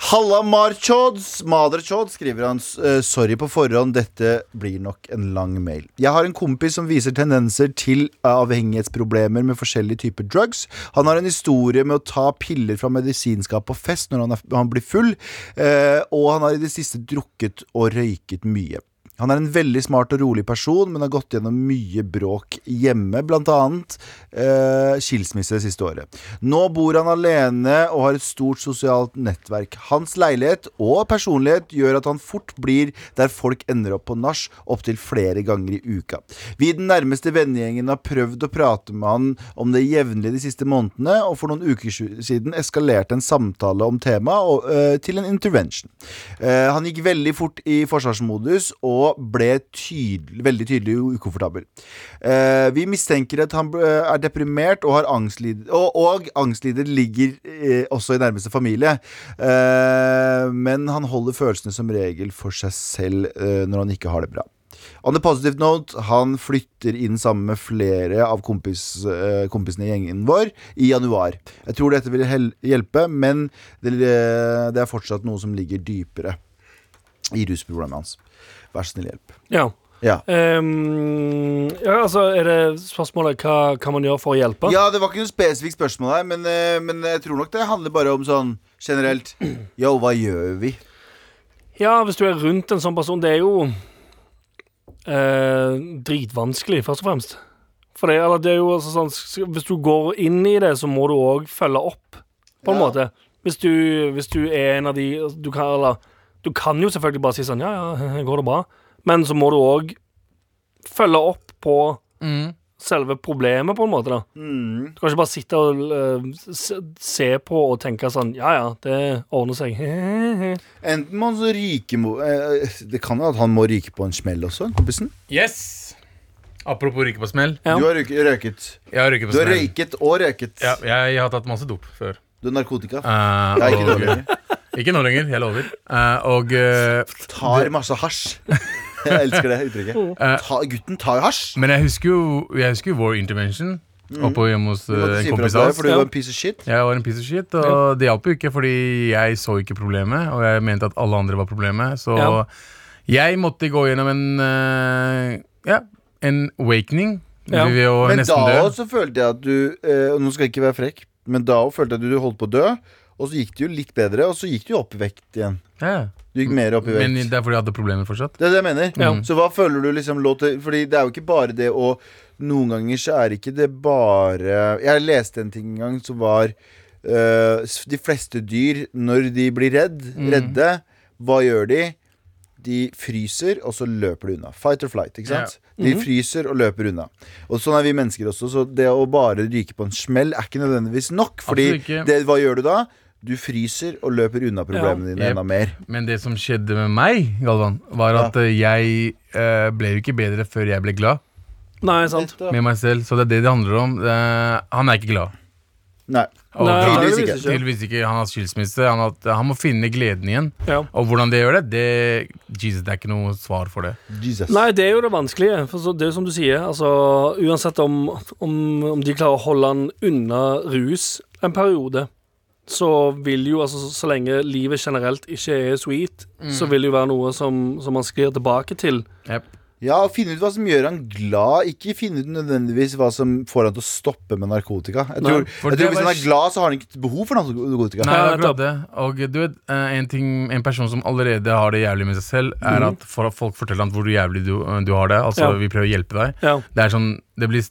Halla Marchods, Maderchod, skriver han. S- eh, Sorry på forhånd, dette blir nok en lang mail. Jeg har en kompis som viser tendenser til eh, avhengighetsproblemer med forskjellige typer drugs. Han har en historie med å ta piller fra medisinskap på fest når han, er, han blir full, eh, og han har i det siste drukket og røyket mye. Han er en veldig smart og rolig person, men har gått gjennom mye bråk hjemme, blant annet eh, skilsmisse det siste året. Nå bor han alene og har et stort sosialt nettverk. Hans leilighet og personlighet gjør at han fort blir der folk ender opp på nach opptil flere ganger i uka. Vi i den nærmeste vennegjengen har prøvd å prate med han om det jevnlig de siste månedene, og for noen uker siden eskalerte en samtale om temaet og, eh, til en intervention. Eh, han gikk veldig fort i forsvarsmodus og ble tydel- veldig tydelig ukomfortabel. Eh, vi mistenker at han eh, er deprimert og har angstlider, og, og angstlider ligger eh, også i nærmeste familie. Eh, men han holder følelsene som regel for seg selv eh, når han ikke har det bra. On a positive note, han flytter inn sammen med flere av kompis, eh, kompisene i gjengen vår i januar. Jeg tror dette vil hel hjelpe, men det, eh, det er fortsatt noe som ligger dypere i rusproblemet hans. Vær så snill, hjelp.
Ja.
Ja.
Ehm, ja, altså, er det spørsmålet hva kan man gjøre for å hjelpe?
ja, det var ikke noe spesifikt spørsmål her, men, eh, men jeg tror nok det handler bare om sånn generelt Yo, hva gjør vi?
Ja, hvis du er rundt en sånn person, det er jo eh, dritvanskelig, først og fremst. For det, eller det er jo altså sånn, s- hvis du går inn i det, så må du òg følge opp, på en
Ja.
måte. Hvis du, hvis du er en av de altså, du kan, eller, du kan jo selvfølgelig bare si sånn Ja, ja, går det bra? Men så må du òg følge opp på
Mm.
selve problemet, på en måte. da
Mm.
Du kan ikke bare sitte og eh, se- se på og tenke sånn Ja, ja, det ordner seg.
Enten må han så ryke mo- eh, Det kan jo at han må ryke på en smell også, kompisen.
Yes! Apropos ryke på smell.
Ja.
Du har røyke- røyket.
Jeg har ryket på
Du har
smell.
røyket og røyket.
Ja, jeg, jeg har tatt masse dop før.
Du har narkotika.
Eh,
Jeg er ikke
og-
dårlig.
Ikke nå lenger, jeg lover. Eh, og eh,
Tar masse hasj. Jeg elsker det uttrykket.
Eh.
Ta, gutten tar hasj.
Men jeg husker jo, jeg husker jo vår intervention oppe hjemme hos
Mm. Du måtte
eh, en
si fra
kompis
til
av
deg,
oss.
for du var en piece of shit.
Jeg var en piece of shit, og det hjalp jo ikke, fordi jeg så ikke problemet, og jeg mente at alle andre var problemet, så
Ja.
jeg måtte gå gjennom en eh, ja, en awakening
Ja.
ved å
Men da
nesten dø.
også følte jeg at du eh, og Nå skal jeg ikke være frekk, men da også følte jeg at du holdt på å dø. Og så gikk det jo litt bedre, og så gikk du jo opp i vekt igjen.
Ja.
Du gikk mer opp i
Mm. Men
vekt.
det er fordi jeg hadde problemer fortsatt.
Det er det jeg mener.
Ja.
Så hva føler du liksom lå til Fordi det er jo ikke bare det å Noen ganger så er ikke det bare Jeg leste en ting en gang som var øh, s- De fleste dyr, når de blir redd,
Mm.
redde, hva gjør de? De fryser, og så løper de unna. Fight or flight, ikke sant?
Mhm.
De fryser og løper unna. Og sånn er vi mennesker også, så det å bare ryke på en smell er ikke nødvendigvis nok. Fordi
Absolutt ikke.
det, hva gjør du da? Du fryser og løper unna problemene dine
Jep.
enda mer.
Men det som skjedde med meg, Galvan, var at eh, jeg eh, ble jo ikke bedre før jeg ble glad
Nei, sant.
med meg selv, så det er det det handler om. Eh, han er ikke glad.
Nei.
Og
Nei,
han-
tydeligvis ikke.
Tydeligvis ikke. Han har hatt skilsmisse. Han, har hatt- han må finne gleden igjen.
Ja.
Og hvordan det gjør det, det Jesus, det er ikke noe svar for det.
Jesus.
Nei, det er jo det vanskelige. For så, det er jo som du sier, altså, uansett om, om, om de klarer å holde han unna rus en periode, så vil jo altså så- Så lenge livet generelt ikke er sweet, så vil det jo være noe som, som man sklir tilbake til.
Jep.
Ja, og finne ut hva som gjør han glad. Ikke finne ut nødvendigvis hva som får han til å stoppe med narkotika. Jeg
Nei,
tror,
for
jeg
det
tror Hvis
var
han er
sj-
glad, så har han ikke behov for narkotika.
Nei,
Ja,
akkurat det. Og du vet, eh, en, ting, en person som allerede har det jævlig med seg selv, er at for at folk forteller ham hvor jævlig du, du har det. Altså,
Mhm. Ja.
vi prøver å hjelpe deg.
Ja,
Det er sånn Det blir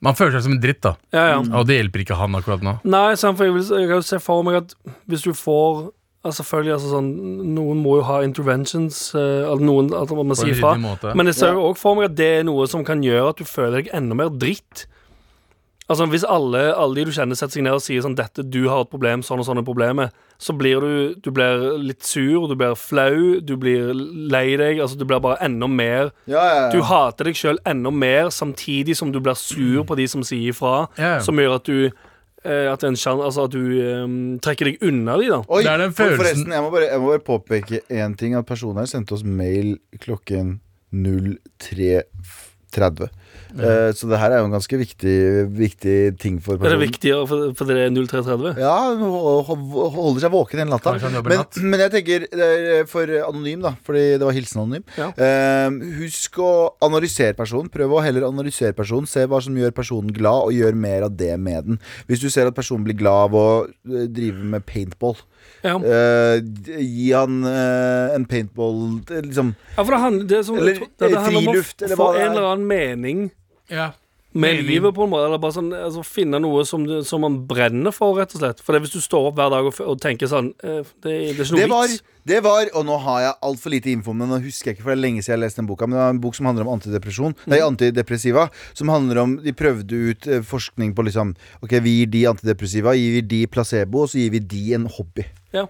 Man føler seg som en dritt, da.
ja, ja.
Og det hjelper ikke han akkurat nå.
Nei, sant, for jeg, vil, jeg kan jo se for meg at hvis du får altså Selvfølgelig, altså sånn Noen må jo ha interventions, eh, at noen at man må
På en
si ifra.
ryddig måte.
Men jeg ser jo også for meg at det er noe som kan gjøre at du føler deg enda mer dritt. Altså Hvis alle, alle de du kjenner setter seg ned og sier sånn Dette, du har et problem, sånn og sånn er problemet, så blir du Du blir litt sur, du blir flau, du blir lei deg, altså du blir bare enda mer
Ja, ja, ja.
Du hater deg sjøl enda mer, samtidig som du blir sur på de som sier ifra,
Ja, ja.
som gjør at du eh, at, en sjan- altså at du eh, trekker deg unna de, da.
Oi,
Det er den
for-
følelsen-
forresten, jeg må, bare, jeg må bare påpeke én ting. At personen her sendte oss mail klokken 03.30. Eh, så det her er jo en ganske viktig, viktig ting for
Er det
personen.
viktigere for- fordi det er 0330?
Ja, hun ho- ho- holder seg våken hele natta.
Kanskje han jobber
Men,
natt.
men jeg tenker det er eh, for anonym, da. Fordi det var hilsen anonym.
Ja.
Eh, husk å analysere personen. Prøv å heller analysere personen. Se hva som gjør personen glad, og gjør mer av det med den. Hvis du ser at personen blir glad av å eh, drive med paintball,
Ja.
Eh, gi han eh, en paintball eh, liksom.
ja, for det handler, det er sånn,
Eller,
det, det
eh,
handler om å
friluft, eller
f- få
hva det er.
en eller annen mening
Ja.
med
Mening.
livet, på en måte. Eller bare sånn, altså, finne noe som, du, som man brenner for, rett og slett. For det, er hvis du står opp hver dag og, f- og tenker sånn eh, Det, det er ikke
Det
noe
var,
vits.
det var Og nå har jeg altfor lite info, men nå husker jeg ikke, for det er lenge siden jeg har lest den boka. Men det var en bok som handler om antidepresjon Nei,
Mhm.
antidepressiva. Som handler om De prøvde ut eh, forskning på liksom Ok, vi gir de antidepressiva, gir vi de placebo, og så gir vi de en hobby.
Ja.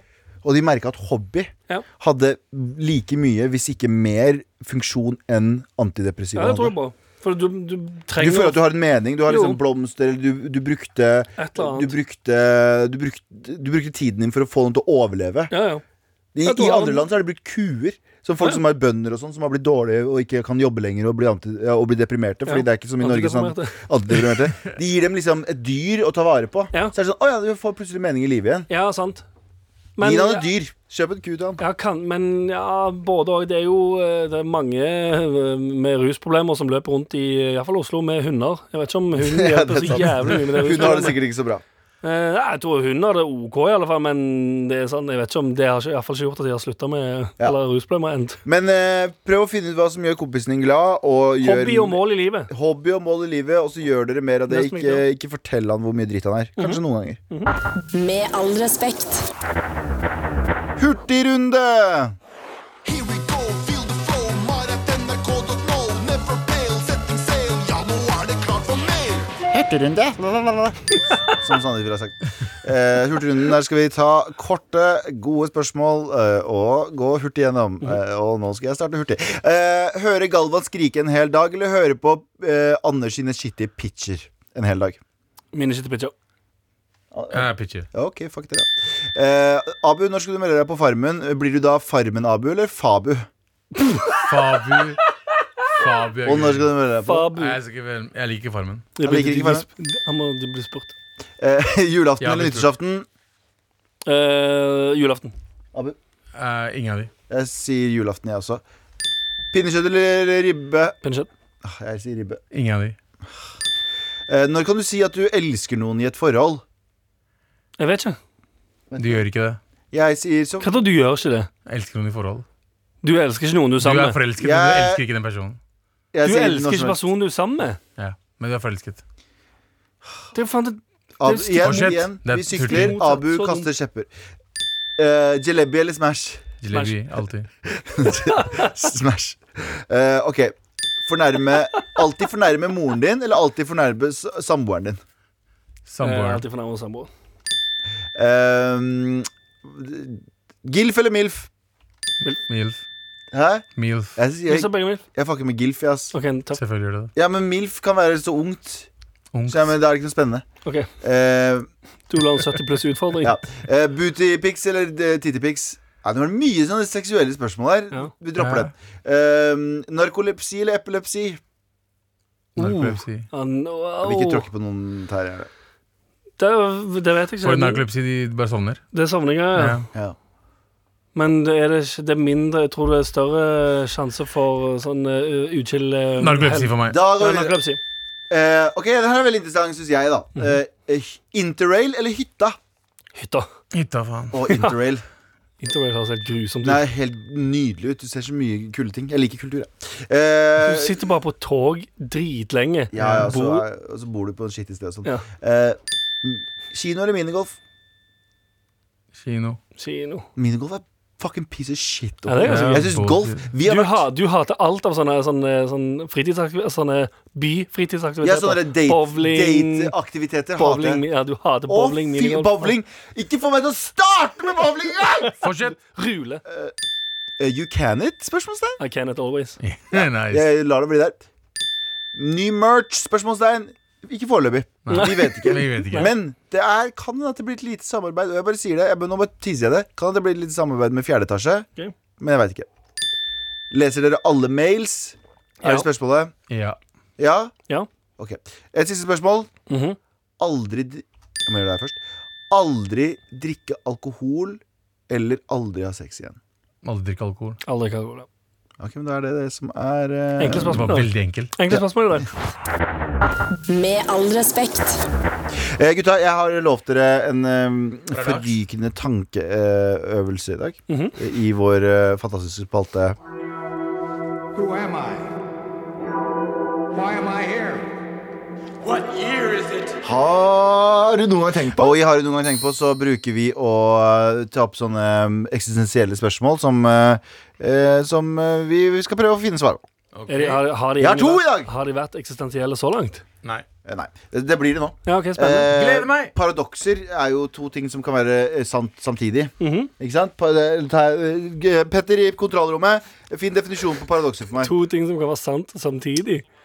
Og de merka at hobby
Ja.
hadde like mye, hvis ikke mer, funksjon enn
ja,
antidepressiva.
det tror
hadde.
jeg på. For du, du
Du
trenger
føler at du har en mening. Du har
Jo.
liksom blomster, eller du, du brukte
et eller
du
annet.
brukte, du, brukte, du brukte tiden din for å få den til å overleve.
Ja, ja.
I,
Ja, du
i
har
andre
den.
land så har de brukt kuer. Som folk
Ja.
som er bønder og sånn, som har blitt dårlige og ikke kan jobbe lenger og bli, anti, ja, og bli deprimerte. Fordi det
Ja.
er ikke som i Norge. Sånn,
Antidepressante.
antideprimerte. De gir dem liksom et dyr å ta vare på.
Ja.
Så er det sånn Å ja, du får plutselig mening i livet igjen.
ja, sant.
Gi han et dyr. Kjøp en ku til han.
Ja, kan, men ja, både og. Det er jo eh, det er mange eh, med rusproblemer som løper rundt i iallfall Oslo med hunder. Jeg vet ikke om hunden
Ja, det
hjelper
er
så
sant.
jævlig mye med det
Hun har det
rusproblemet.
sikkert ikke så bra.
Eh, nei, jeg tror hunden har det OK, i alle fall, men det er sånn, jeg vet ikke om det har ikke, i hvert fall ikke gjort at de har slutta med
Ja.
Eller rusproblemer endt.
Men eh, prøv å finne ut hva som gjør kompisen din glad. Og gjør,
Hobby og mål i livet.
hobby og mål i livet, og så gjør dere mer av det.
Nesten
Ikke, ikke fortell han hvor mye dritt han er.
Mhm.
Kanskje noen ganger.
Med all respekt.
Hurtigrunde!
Here we go, feel the flow, mar at nrk.no. Never fail, setting sail, ja, nå er det klart for mer.
Som Sandeep ville ha sagt. Eh, hurtigrunden, der skal vi ta korte, gode spørsmål eh, og gå hurtig gjennom. Eh, og nå skal jeg starte hurtig. Eh, høre Galvan skrike en hel dag, eller høre på eh, Anders sine shitty pitcher en hel dag?
Mine shitty pitcher.
Jeg er pitcher.
Ja, Ok, fuck det, da. Eh, Abu, når skal du melde deg på Farmen? Blir du da Farmen-Abu eller Fabu?
Fabu. Fabu er
Og
gul.
når skal du melde deg på?
Fabu.
Nei, jeg, skal ikke vel- jeg liker Farmen.
Det
Jeg liker
blir-
ikke Farmen.
de- Han må de bli spurt.
Eh, julaften
Ja,
eller
litt
nyttårsaften?
Eh, julaften.
Abu?
Eh, ingen av de.
Jeg sier julaften, jeg også. Pinnekjøtt eller ribbe?
Pinnekjøtt.
Ah, Jeg sier ribbe.
Ingen av de.
Eh, når kan du si at du elsker noen i et forhold?
Jeg vet ikke.
Du gjør ikke det.
Jeg sier så
Hva da, du gjør ikke det?
Jeg elsker noen i forhold.
Du elsker ikke noen du er
Du
sammen
er
med.
forelsket, men du
Jeg-
elsker ikke den personen.
jeg
Du
sier
elsker
noe
ikke
som helst.
personen du er sammen med.
Ja, Men du er forelsket.
Det er jo faen det
Ab-
Det er
Igjen,
Fortsett.
igjen.
Det er Sånn.
Vi sykler.
turtid.
Abu
Så dumt.
kaster kjepper. Eh, Jalebi eller Smash?
Jalebi. Alltid.
Smash. Eh, ok. Fornærme Alltid fornærme moren din, eller alltid fornærme s- samboeren din?
Jeg er
Samboer.
alltid fornærmet samboer.
Eh, gilf eller milf?
Milf.
Hæ?
Milf.
Jeg, jeg,
Hvis det er begge mil.
jeg fucker med gilf, jeg, ass.
Ok, topp.
Selvfølgelig gjør det det.
Ja, men milf kan være så ungt.
Ungt.
Så ja, men Da er det ikke noe spennende.
Ok,
Eh,
Du vil ha en 70 pluss utfordring?
Ja. Eh, Booty pics eller eh, titty pics? Ja, det var mye sånne seksuelle spørsmål her.
Ja.
Vi dropper
Ja.
den. Eh, narkolepsi eller epilepsi?
Narkolepsi.
Han,
Jeg
wow. Oh.
vil ikke tråkke på noen tær. her.
Det, det vet jeg
Får du
ikke.
narkolepsi, de bare sovner.
Det er samlinger, ja.
Ja.
Ja.
Men det er, det, ikke- det er mindre Jeg tror det er større sjanse for sånn uh, uchill uh,
Narkolepsi for meg.
Da
Ja,
går vi videre.
narkolepsi.
Eh, ok, den her er veldig interessant, syns jeg, da. Eh, eh, interrail eller hytta?
Hytta.
Hytta, faen.
Og interrail.
Interrail høres helt grusomt
Det
ut.
er helt nydelig ut. Du ser så mye kule ting. Jeg liker kultur, jeg. Eh,
Du sitter bare på tog dritlenge.
ja, ja, så,
Bo-
er- og så bor du på en skittig sted og sånn.
Ja.
Eh, kino eller minigolf?
Kino.
Kino.
Minigolf er fucking piece of shit.
Ja, det er ganske
Ja.
gøy.
Jeg syns golf Vi har
Du,
vært
ha, du hater alt av sånne, sånne, sånne, fritidsaktiv- sånne
ja, sånne
byfritidsaktiviteter.
date-
bowling,
dateaktiviteter. hater jeg.
bowling Ja, du hater
Å,
bowling,
fy,
minigolf.
bowling! Ikke få meg til å starte med bowling engang!
Fortsett.
Rule.
Eh, you can it? Spørsmålstegn.
I can it always.
nice.
Jeg lar det bli der. Ny merch? Spørsmålstegn. Ikke foreløpig. Vi vet ikke.
Vi vet ikke.
Men det er, kan hende at det blir et lite samarbeid. Og jeg bare sier det, jeg, nå bare tisser jeg det. Kan hende det blir et lite samarbeid med fjerde etasje.
Ok.
Men jeg veit ikke. Leser dere alle mails? Er det
Ja.
spørsmålet?
Ja.
Ja?
Ja.
Ok. Et siste spørsmål.
Mhm.
Aldri dri- Jeg må gjøre det her først. Aldri drikke alkohol eller aldri ha sex igjen.
Aldri drikke alkohol.
Aldri kan gå det.
Ok, men Da er det det som er eh,
Enkle
Det var
spørsmål. da.
veldig enkelt.
Enkle spørsmål der.
Med all respekt.
eh, Gutta, jeg har lovt dere en eh, forrykende tankeøvelse i dag.
Mhm.
I vår eh, fantastiske spalte
Who am I? Why am I here?
Har du noen gang tenkt på? Og i Har du noen gang tenkt på så bruker vi å eh, ta opp sånne mm, eksistensielle spørsmål som, eh, eh, som eh, vi, vi skal prøve å finne svar på.
Er de, har, har de
Jeg har
egentlig
to
vært-
i dag!
Har de vært eksistensielle så langt?
Nei.
Eh, Nei, det- det blir det nå. Eh,
Ja, ok, spennende.
Gleder meg!
Paradokser er jo to ting som kan være eh, sant samtidig.
Mhm.
Ikke sant? Pa det- ta, eh, g- Petter i kontrollrommet, fin definisjon på paradokser for meg.
To ting som kan være sant samtidig.
Eh,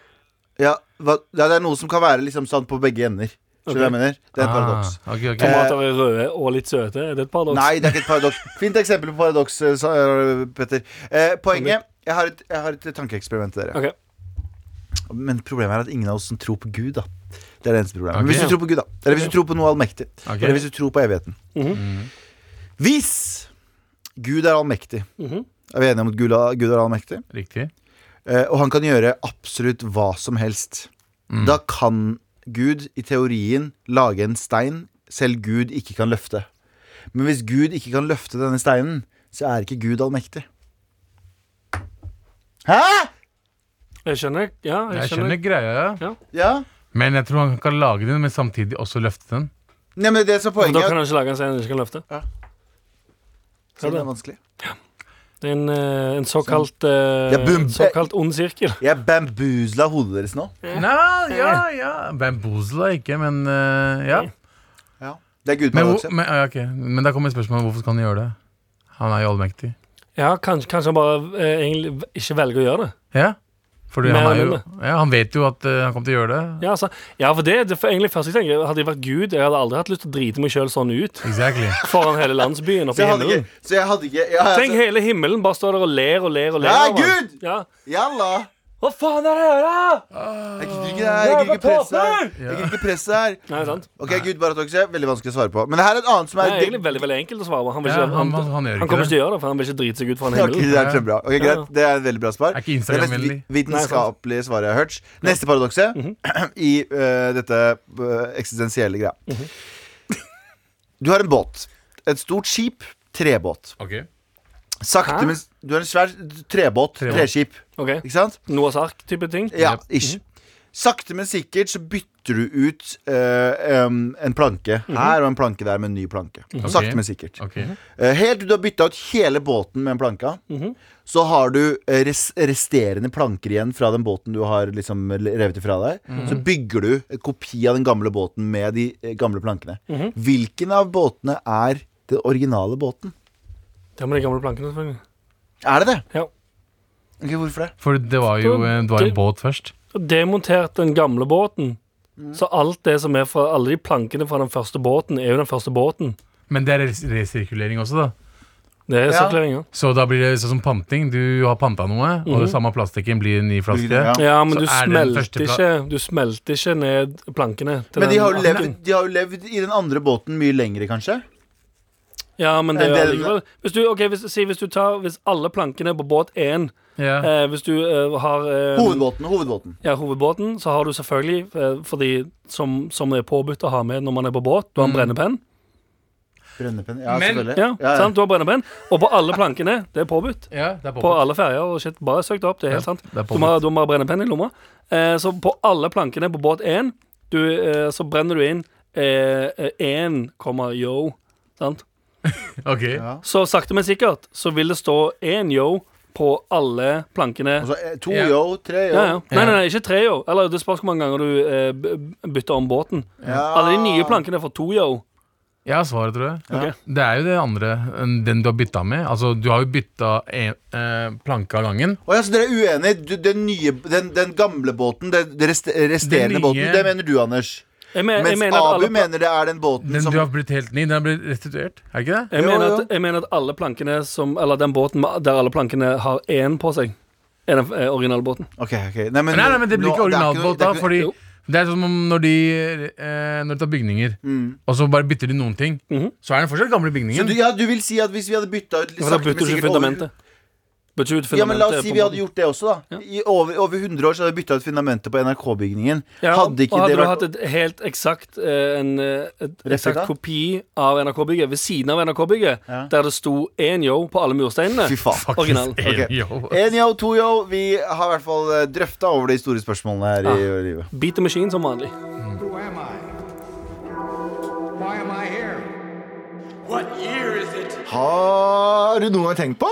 Ja, hva, ja, det er noe som kan være liksom sant på begge ender. Skjønner du hva jeg mener? Det er et paradoks.
Ah, ok, ok.
Tomater er røde og litt søte. Er det et paradoks?
Nei, det er ikke et paradoks. Fint eksempel på paradoks, eh, sa- eh, Petter. Eh, poenget jeg har, et, jeg har et tankeeksperiment til dere.
Ok.
Men problemet er at ingen av oss som tror på Gud, da. Det er det eneste problemet.
Ok.
Men hvis du tror på Gud, da. Eller hvis du tror på noe allmektig.
Ok. Mhm.
Eller hvis du tror på evigheten. Hvis Gud er allmektig
Mhm.
Er vi enige om at Gud er, Gud er allmektig?
Riktig.
Eh, og han kan gjøre absolutt hva som helst. Da kan Gud i teorien lage en stein selv Gud ikke kan løfte. Men hvis Gud ikke kan løfte denne steinen, så er ikke Gud allmektig. Hæ?!
Jeg skjønner. Ja, jeg
Jeg
skjønner.
skjønner greia,
Ja.
men jeg tror han kan lage den, men samtidig også løfte den.
Nei, men det er det som er
For da
poenget.
kan han ikke lage en scene du ikke kan løfte.
Så det er vanskelig.
Det er en, eh, en såkalt eh,
Ja, boom.
en såkalt ond sirkel.
Jeg bambusla hodet deres nå.
Nei, ja, ja. Bamboozla ikke, men eh, ja.
Det er Gud
Men,
med
hvor, men, ja, ok. men da kommer spørsmålet hvorfor skal han gjøre det? Han er jo allmektig.
Ja, kanskje, kanskje han bare eh, egentlig v- ikke velger å gjøre det.
Ja? Fordi
Mer
han, er
eller
jo, ja, han vet jo at eh, han kommer til å gjøre det.
Ja, altså, ja for det det er egentlig først jeg tenker. Hadde jeg vært Gud, jeg hadde aldri hatt lyst til å drite meg sjøl sånn ut
Exactly.
foran hele landsbyen og
Så
på
jeg hadde
himmelen.
ikke, så jeg hadde ikke ja, altså,
Tenk hele himmelen bare står der og ler og ler og
Ja,
ler. av han.
Gud!
Ja.
Jalla!
Hva faen er det her, da?
Jeg gidder ikke det her. Jeg gidder ikke presse her. Jeg gidder ikke presse her.
Nei, sant?
Ok, Gud paradokset. Veldig vanskelig å svare på. Men det her er et annet som
Det
er
er egentlig veldig veldig enkelt å svare på. Han, vil
Ja,
ikke,
han- han- han gjør ikke
kommer
det.
ikke til å gjøre det, for han vil ikke drite seg ut foran
Ok,
himmelen.
det er kjempebra. Ok, greit. Det er et veldig bra svar.
Er ikke
det er
Instagram-vennlig.
mest vitenskapelige svaret jeg har hørt. Neste paradokse
Mhm.
i eh, dette eh, eksistensielle greia.
Mhm.
Du har en båt. Et stort skip. Trebåt.
Ok.
Sakte,
Hæ?
men s- Du har en svær trebåt.
Trebåt.
Treskip.
Ok,
Ikke sant?
Noahs ark-type ting.
Ja,
Mhm.
ish. Sakte, men sikkert så bytter du ut eh, em, en planke
Mhm.
her og en planke der med en ny planke. Sakte, men sikkert.
ok
Eh, Helt til du har bytta ut hele båten med en planke,
Mhm.
så har du eh, res resterende planker igjen fra den båten du har liksom revet ifra deg.
Mhm.
Så bygger du en kopi av den gamle båten med de eh, gamle plankene.
Mhm.
Hvilken av båtene er den originale båten?
Det med de gamle plankene, selvfølgelig.
Er det det?
Ja.
Ok, Hvorfor det?
For det var jo eh, det var en
Det-
båt først.
Og demontert den gamle båten.
Mm.
Så alt det som er fra alle de plankene fra den første båten, er jo den første båten.
Men det er res- resirkulering også, da.
Det er
Ja.
sirkulering, ja.
Så da blir det sånn som panting. Du har panta noe, og
Mhm.
det samme plastikken blir en ny flaske.
Ja.
Ja, men
Så
du
er det den
smelter,
første pla-
ikke, du smelter ikke ned plankene. til
Men de
den
har, jo
andre.
levd, de har jo levd i den andre båten mye lengre, kanskje?
Ja, men det
enn
er
det-
allikevel hvis, du- ok, hvis, si, hvis du tar Hvis alle plankene på båt 1
Ja.
eh, Hvis du eh, har eh,
Hovedbåten. hovedbåten
ja, hovedbåten, så har du selvfølgelig eh, For de som, som er påbudt å ha med når man er på båt, du har en brennepenn.
Brennepenn. Ja,
Men-
selvfølgelig.
Ja,
Ja, ja.
Sant? Du har brennepenn. Og på alle plankene. Det er påbudt.
ja, det er
På
påbudt.
alle ferger og shit. Bare søk det opp, det er helt sant.
det er
du, må, ha- du må ha brennepenn i lomma. Eh, så på alle plankene på båt 1 du, eh, så brenner du inn eh, eh, 1, komma yo. Sant?
Ok.
Så sakte, men sikkert så vil det stå én yo på alle plankene.
Og så, eh, to
Ja.
yo, tre yo.
Ja, ja. Nei, nei, nei, ikke tre yo. Eller det spørs hvor mange ganger du eh, b- bytter om båten.
Ja.
Alle de nye plankene får to yo.
Jeg har svaret, tror jeg.
Ok.
Det er jo det andre. eh, Den du har bytta med. Altså, du har jo bytta en eh, planke av gangen.
Å ja, så dere er uenige? Du, den, nye, den, den gamle båten, den, den rest, resterende
Den nye-
båten, det mener du, Anders.
Jeg, men, jeg
Mens
mener at
Abu
alle pla-
mener det er den båten
Den
som
du har blitt helt ny, den har blitt restituert. Er det ikke det?
jeg
Jo,
mener,
jo.
at, jeg mener at alle plankene som Eller den båten med- der alle plankene har én på seg, er den eh, originalbåten.
Ok, ok Nei, men,
Nei, nei, men det blir
nå-
ikke
det er noe-
originalbåt
det
da,
er ikke-
fordi
Jo.
det er som om når de, eh, når de tar bygninger, og så bare bytter de noen ting, så er den fortsatt gamle
Mm. Så
bygningen.
du, ja, du vil si at hvis vi hadde bytta ut litt
For da
sakte, men
bytter du
sikkert
ikke
over-
fundamentet. Bytter du ut fundamentet
Ja, men La oss si
på
vi hadde
båten.
gjort det også, da. I over, over 100 år så hadde vi bytta ut fundamentet på NRK-bygningen.
Ja,
hadde ikke
og hadde
det
du
vært
hatt et helt eksakt eh, en, eh, et
Replika?
eksakt kopi av NRK-bygget ved siden av NRK-bygget,
Ja.
der det sto én yo på alle mursteinene
Fy faen.
Faktisk
Original.
er
Ok.
det jo.
En yo, to yo. Vi har i hvert fall drøfta over de store spørsmålene her i livet.
Beat the machine som vanlig.
Who am I? Why am I here?
Har du noen gang tenkt på?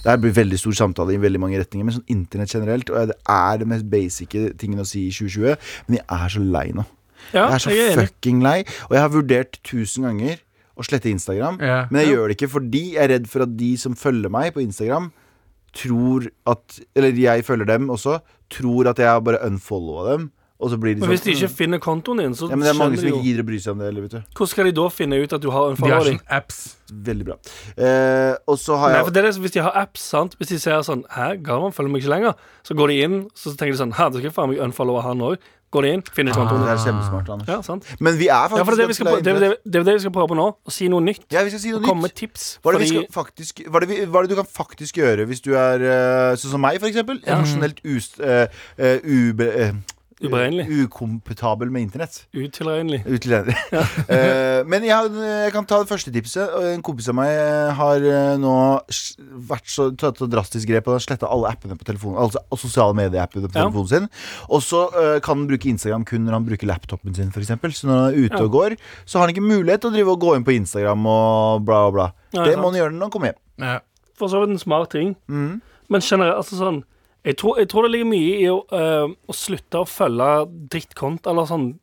Det her blir veldig stor samtale i veldig mange retninger, men sånn internett generelt Og det er det mest basice tingen å si i 2020, men jeg er så lei nå.
Ja,
jeg er så
jeg er enig.
fucking lei. Og jeg har vurdert tusen ganger å slette Instagram,
Ja.
men jeg gjør det ikke fordi jeg er redd for at de som følger meg på Instagram, tror at Eller jeg følger dem også, tror at jeg har bare unfollowa dem, og så blir de
Men hvis de
sånn «Mm,
ikke finner kontoen din, så
ja, men det er mange
skjønner
som
de
ikke
jo
gidder å bry seg om det. Eller, vet du.
Hvordan skal de da finne ut at du har en
De har
follower?
sånn apps.
Veldig bra. Eh, og så har
Nei,
jeg
for det er det, som- hvis de har apps, sant Hvis de ser sånn Hæ, Garvan følger meg ikke lenger. Så går de inn, så tenker de sånn Hæ, da skal jeg faen meg unfollowe han òg. Går de inn,
Ah.
finner
Det
kontoen din.
er kjempesmart, Anders.
Ja, sant?
Men vi er faktisk
Ah. Ja, for det er det vi skal,
ganske
prøve-
lei
det, er- det,
internett.
er- det er det vi skal prøve på nå. Å si noe nytt.
Ja, vi skal si noe
Komme med
nytt.
tips.
Hva er, det
fordi-
vi skal faktisk, hva, er det vi, hva er det du kan faktisk gjøre hvis du er eh, sånn som meg, for eksempel? Emosjonelt us, eh, eh, ube, eh,
Uberegnelig.
ukompetabel med internett.
Utilregnelig.
Utlender. Eh, men jeg, har- jeg kan ta det første tipset. Og En kompis av meg eh, har eh, nå s- vært så, tatt så drastisk grep og sletta alle appene på telefonen Altså sosiale medieappene på
Ja.
telefonen sin. Og så eh, kan han bruke Instagram kun når han bruker laptopen sin, f.eks. Så når han er ute
Ja.
og går, så har han ikke mulighet til å drive og gå inn på Instagram og bla, bla, bla.
Nei,
det
sant.
må han gjøre når han kommer hjem.
Ja.
for så vidt en smart ting. Men generelt, altså sånn jeg tror, jeg tror det ligger mye i å, eh, å slutte å følge drittkont, eller sånn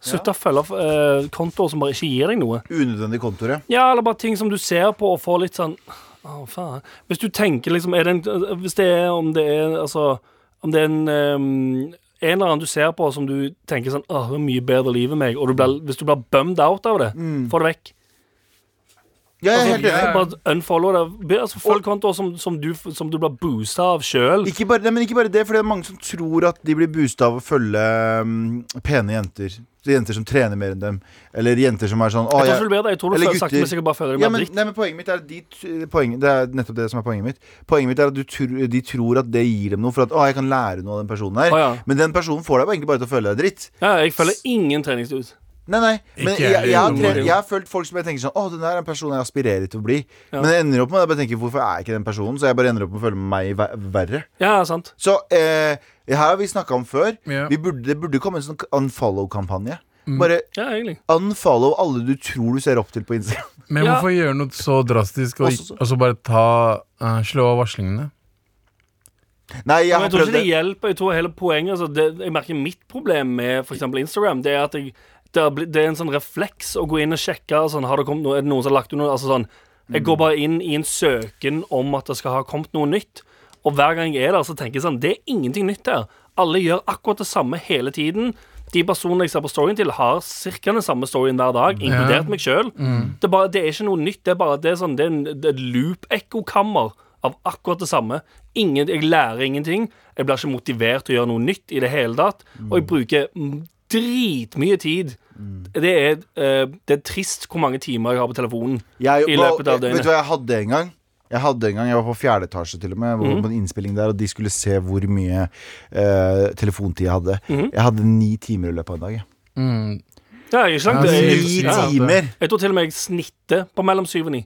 Slutte å følge eh, kontoer som bare ikke gir deg noe.
Unødvendig kontoret.
Ja, eller bare ting som du ser på og får litt sånn Å, faen. Hvis du tenker liksom er det en, Hvis det er om det er Altså om det er en ehm, en eller annen du ser på som du tenker sånn Åh, det er mye bedre liv enn meg. Og du blir, hvis du blir bummed out av det, få det vekk.
Ja, jeg er helt
Altså,
enig.
Bare unfollow det. Be- Altså, Følg kontoer som, som, du, som du blir boosta av sjøl.
Ikke bare, nei, men ikke bare det, for det er mange som tror at de blir boosta av å følge mm, pene jenter. Så Jenter som trener mer enn dem. Eller jenter som er sånn å,
Jeg tror
jeg-
ikke det blir det. Jeg tror du
Eller
føler, sakte,
gutter.
men sikkert bare føler deg
ja,
mer
men,
dritt.
nei, men Poenget mitt er at de, t- poenget, Det er nettopp det som er poenget mitt. Poenget mitt er at du tr de tror at det gir dem noe, for at å, jeg kan lære noe av den personen her.
Å, ja.
Men den personen får deg bare egentlig bare til å føle deg dritt.
Ja, jeg føler ingen treningsdude.
Nei, nei, men
Ikke
jeg, jeg, har
heller.
tre- jeg har følt folk som jeg tenker sånn Å, den der er en person jeg aspirerer til å bli. Men jeg ender opp med å bare tenke hvorfor er jeg ikke den personen? Så jeg bare ender opp med å føle meg ver- verre.
Ja, sant.
Så eh, det her har vi snakka om før.
Ja. Mm.
Vi burde, det burde komme en sånn unfollow-kampanje. Bare
Ja, egentlig.
unfollow alle du tror du ser opp til på Instagram.
Men
Ja.
hvorfor gjøre noe så drastisk og,
Også-
og så bare ta eh, slå av varslingene?
Nei, jeg har
Men jeg tror
prøvd
ikke det
det.
hjelper. Jeg tror hele poenget altså, det, Jeg merker mitt problem med f.eks. Instagram, det er at jeg, det, har blitt- det er en sånn refleks å gå inn og sjekke sånn, har det kommet noe, Er det noen som har lagt ut noe? Altså, sånn, jeg
Mm.
går bare inn i en søken om at det skal ha kommet noe nytt. Og hver gang jeg er der, så tenker jeg sånn Det er ingenting nytt her. Alle gjør akkurat det samme hele tiden. de personene jeg ser på storyen til, har ca. den samme storyen hver dag, inkludert meg sjøl.
Mm.
Det, er bare- det er ikke noe nytt. Det er bare det er sånn, det er en det er et loop-ekkokammer av akkurat det samme. Ingen, jeg lærer ingenting. Jeg blir ikke motivert til å gjøre noe nytt i det hele tatt. Og jeg bruker mm, dritmye tid.
Mm.
Det, er, eh, det er trist hvor mange timer jeg har på telefonen
Jeg, eh,
i løpet
Vet
av døgnet.
du hva jeg hadde en gang? Jeg hadde en gang, jeg var på fjerde etasje til og med,
Mhm.
hvor- på en innspilling der, og de skulle se hvor mye eh, telefontid jeg hadde.
Mhm.
Jeg hadde ni timer i løpet av en dag. jeg.
Ja, jeg er ikke sant?
Ja,
Det er-
sykt.
Ni timer!
Jeg tror til og med jeg snitter på mellom syv og ni.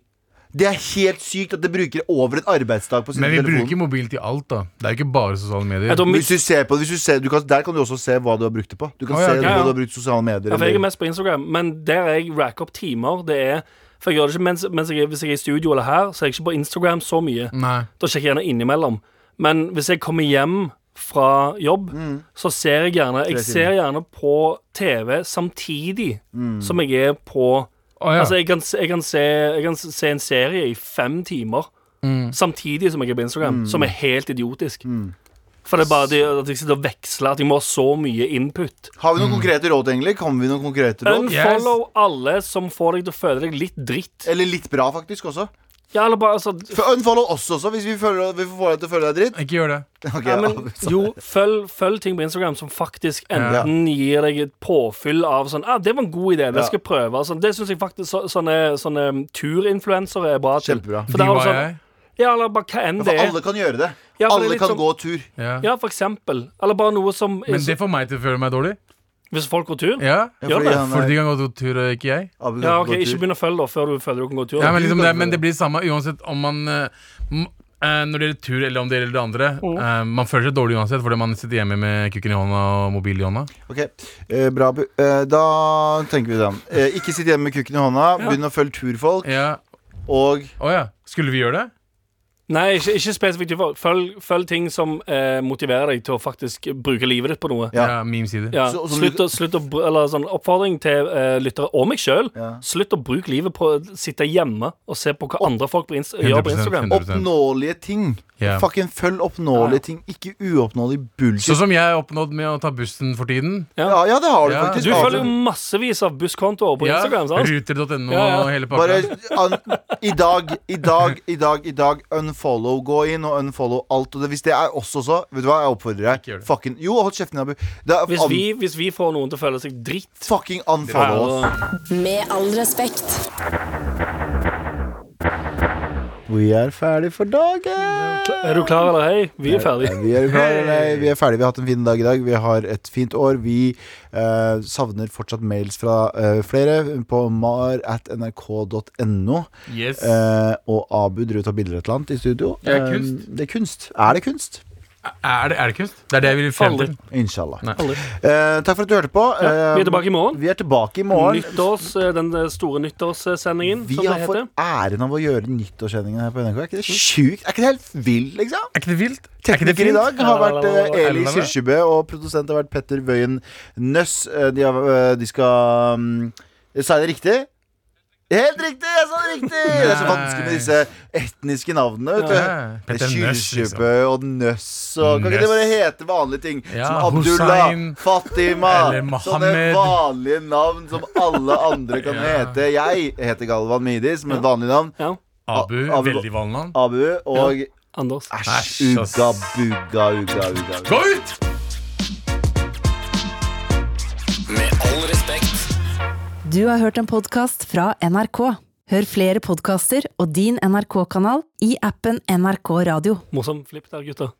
Det er helt sykt at det bruker over en arbeidsdag på sin
Men vi
telefon.
bruker mobil til alt, da. Det er jo ikke bare sosiale medier.
Jeg tror
Hvis du
mitt,
ser på det, hvis du ser, du kan, Der kan du også se hva du har brukt det på. Du kan
Å, ja,
se
ok,
ja.
hva du har brukt i sosiale medier.
ja, for jeg
eller-
er mest på Instagram, men der er jeg rack opp timer. Det er For jeg gjør det ikke mens, mens jeg, er- Hvis jeg er i studio eller her, så er jeg ikke på Instagram så mye.
Nei.
Da sjekker jeg gjerne innimellom. Men hvis jeg kommer hjem fra jobb, så ser jeg gjerne Jeg
timer.
ser gjerne på TV samtidig som jeg er på
Å, ja.
Altså, jeg kan, se- jeg, kan se, jeg kan se en serie i fem timer samtidig som jeg er på Instagram, som er helt idiotisk. For det er bare det at jeg sitter og veksler, at jeg må ha så mye input.
Har vi
Mm.
noen konkrete råd, egentlig? Kommer vi noen konkrete råd?
Unfollow alle som får deg til å føle deg litt dritt.
Eller litt bra, faktisk, også.
Ja, eller bare, altså,
For Unfollow oss også, hvis vi, føler, vi får deg til å føle deg dritt.
Ikke gjør det.
Ok,
ja,
ja,
men,
så-
jo, følg, følg ting på Instagram som faktisk enten gir deg et påfyll av sånn ah, 'Det var en god idé, det skal jeg prøve.' og Sånn, det syns jeg faktisk så, sånne, sånne um, turinfluensere er bra til.
Kjempebra.
For
De
der har du
var jeg.
sånn, ja, eller bare hva enn
For
det er.
alle kan gjøre det.
Ja, for det er
alle
litt sånn-
kan
som-
gå tur.
Ja.
Ja, for eksempel. Eller bare noe som
Men det får meg til å føle meg dårlig.
Hvis folk går tur?
Ja.
Gjør
fordi
det.
han er-
For de kan gå til tur, og ikke jeg.
Abu kan gå
Ja, ok, Ikke
tur.
begynn å følge da før du føler du kan gå tur.
Ja, men, liksom
kan
det,
gjøre
men det
det.
blir samme uansett om man eh, m- eh, Når det gjelder tur eller om det gjelder det andre.
Mm.
eh, man føler seg dårlig uansett fordi man sitter hjemme med kukken i hånda og mobil i hånda.
Ok, eh, bra Abu. Eh, da tenker vi den. Eh, ikke sitt hjemme med kukken i hånda. Begynn å følge turfolk.
Ja.
Og
Å ja. Skulle vi gjøre det?
Nei, ikke, ikke spesifikt. Følg, følg, følg ting som eh, motiverer deg til å faktisk bruke livet ditt på noe.
Ja.
Ja, Memesider.
Ja,
Så- så-
slutt å, slutt å br- Eller sånn oppfordring til eh, lyttere og meg sjøl.
Ja.
Slutt å bruke livet på å sitte hjemme og se på hva andre folk på Inst gjør på
100%,
Instagram.
100%.
oppnåelige ting.
Ja.
Fucking følg oppnåelige ting, ikke uoppnåelig bullshit.
Sånn som jeg har oppnådd med å ta bussen for tiden.
ja, ja, det har du
Ja.
Du
faktisk.
følger jo massevis av busskontoer på
Ja,
Instagram. sant?
Ruter.no
Ja, ja.
og hele pakka.
Bare an, i dag, i dag, i dag, i dag unfollow. Gå inn og unfollow alt. Og det, hvis det er oss også, vet du hva, jeg oppfordrer
Ikke gjør
deg.
det.
Fucking, jo, hold kjeften din, Abu. Det er,
Hvis
un,
vi, hvis vi får noen til å føle seg dritt
fucking unfollow oss.
Med all respekt.
Vi er ferdig for dagen.
Er du klar eller hei? Vi er ferdige.
Vi er, klar, nei, vi er ferdige. Vi har hatt en fin dag i dag. Vi har et fint år. Vi eh, savner fortsatt mails fra eh, flere på mar at nrk.no.
Yes.
Eh, og Abu driver og tar bilder et eller annet i studio.
Det er
Eh,
kunst.
det er kunst. Er det kunst?
Er, det, er det kunst? Det er det jeg vil frem til.
Inshallah.
Aldri.
Eh, takk for at du hørte på. Eh,
Ja, vi er tilbake i morgen.
Vi er tilbake i morgen.
Nyttårs, eh, den eh, store nyttårssendingen,
Vi
som det
har
heter.
fått æren av å gjøre nyttårssendingen her på NRK. Er ikke det sjukt? Er ikke det helt vilt, liksom?
Er ikke det vilt? Er ikke det
Tekniker i
fint?
dag har vært eh, Eli
Eller hva?
Kyrkjebø, og produsent har vært Petter Wøien Nøss. Eh, de, har, eh, de skal mm, Sa jeg det riktig? Helt riktig! Jeg sa det riktig! Det er så vanskelig med disse etniske navnene. vet du
Ja,
Det
Petter
er
Nøss, liksom.
Kyrkjebø og Nøss og Kan ikke det bare hete vanlige ting?
Ja,
som Abdullah,
Hussein,
Fatima
eller
Sånne
Mohammed.
vanlige navn som alle andre kan
Ja.
hete. Jeg heter Galvan Midi, som et vanlig navn.
Ja,
Abu,
Abu-
veldig vanlig navn.
Abu og
Anders.
Æsj,
Æsj, ass.
ugga, bugga, ugga, ugga. ugga.
Gå ut!
Med all respekt.
Du har hørt en podkast fra NRK. Hør flere podkaster og din NRK-kanal i appen NRK Radio.
Morsom flipp der, gutter.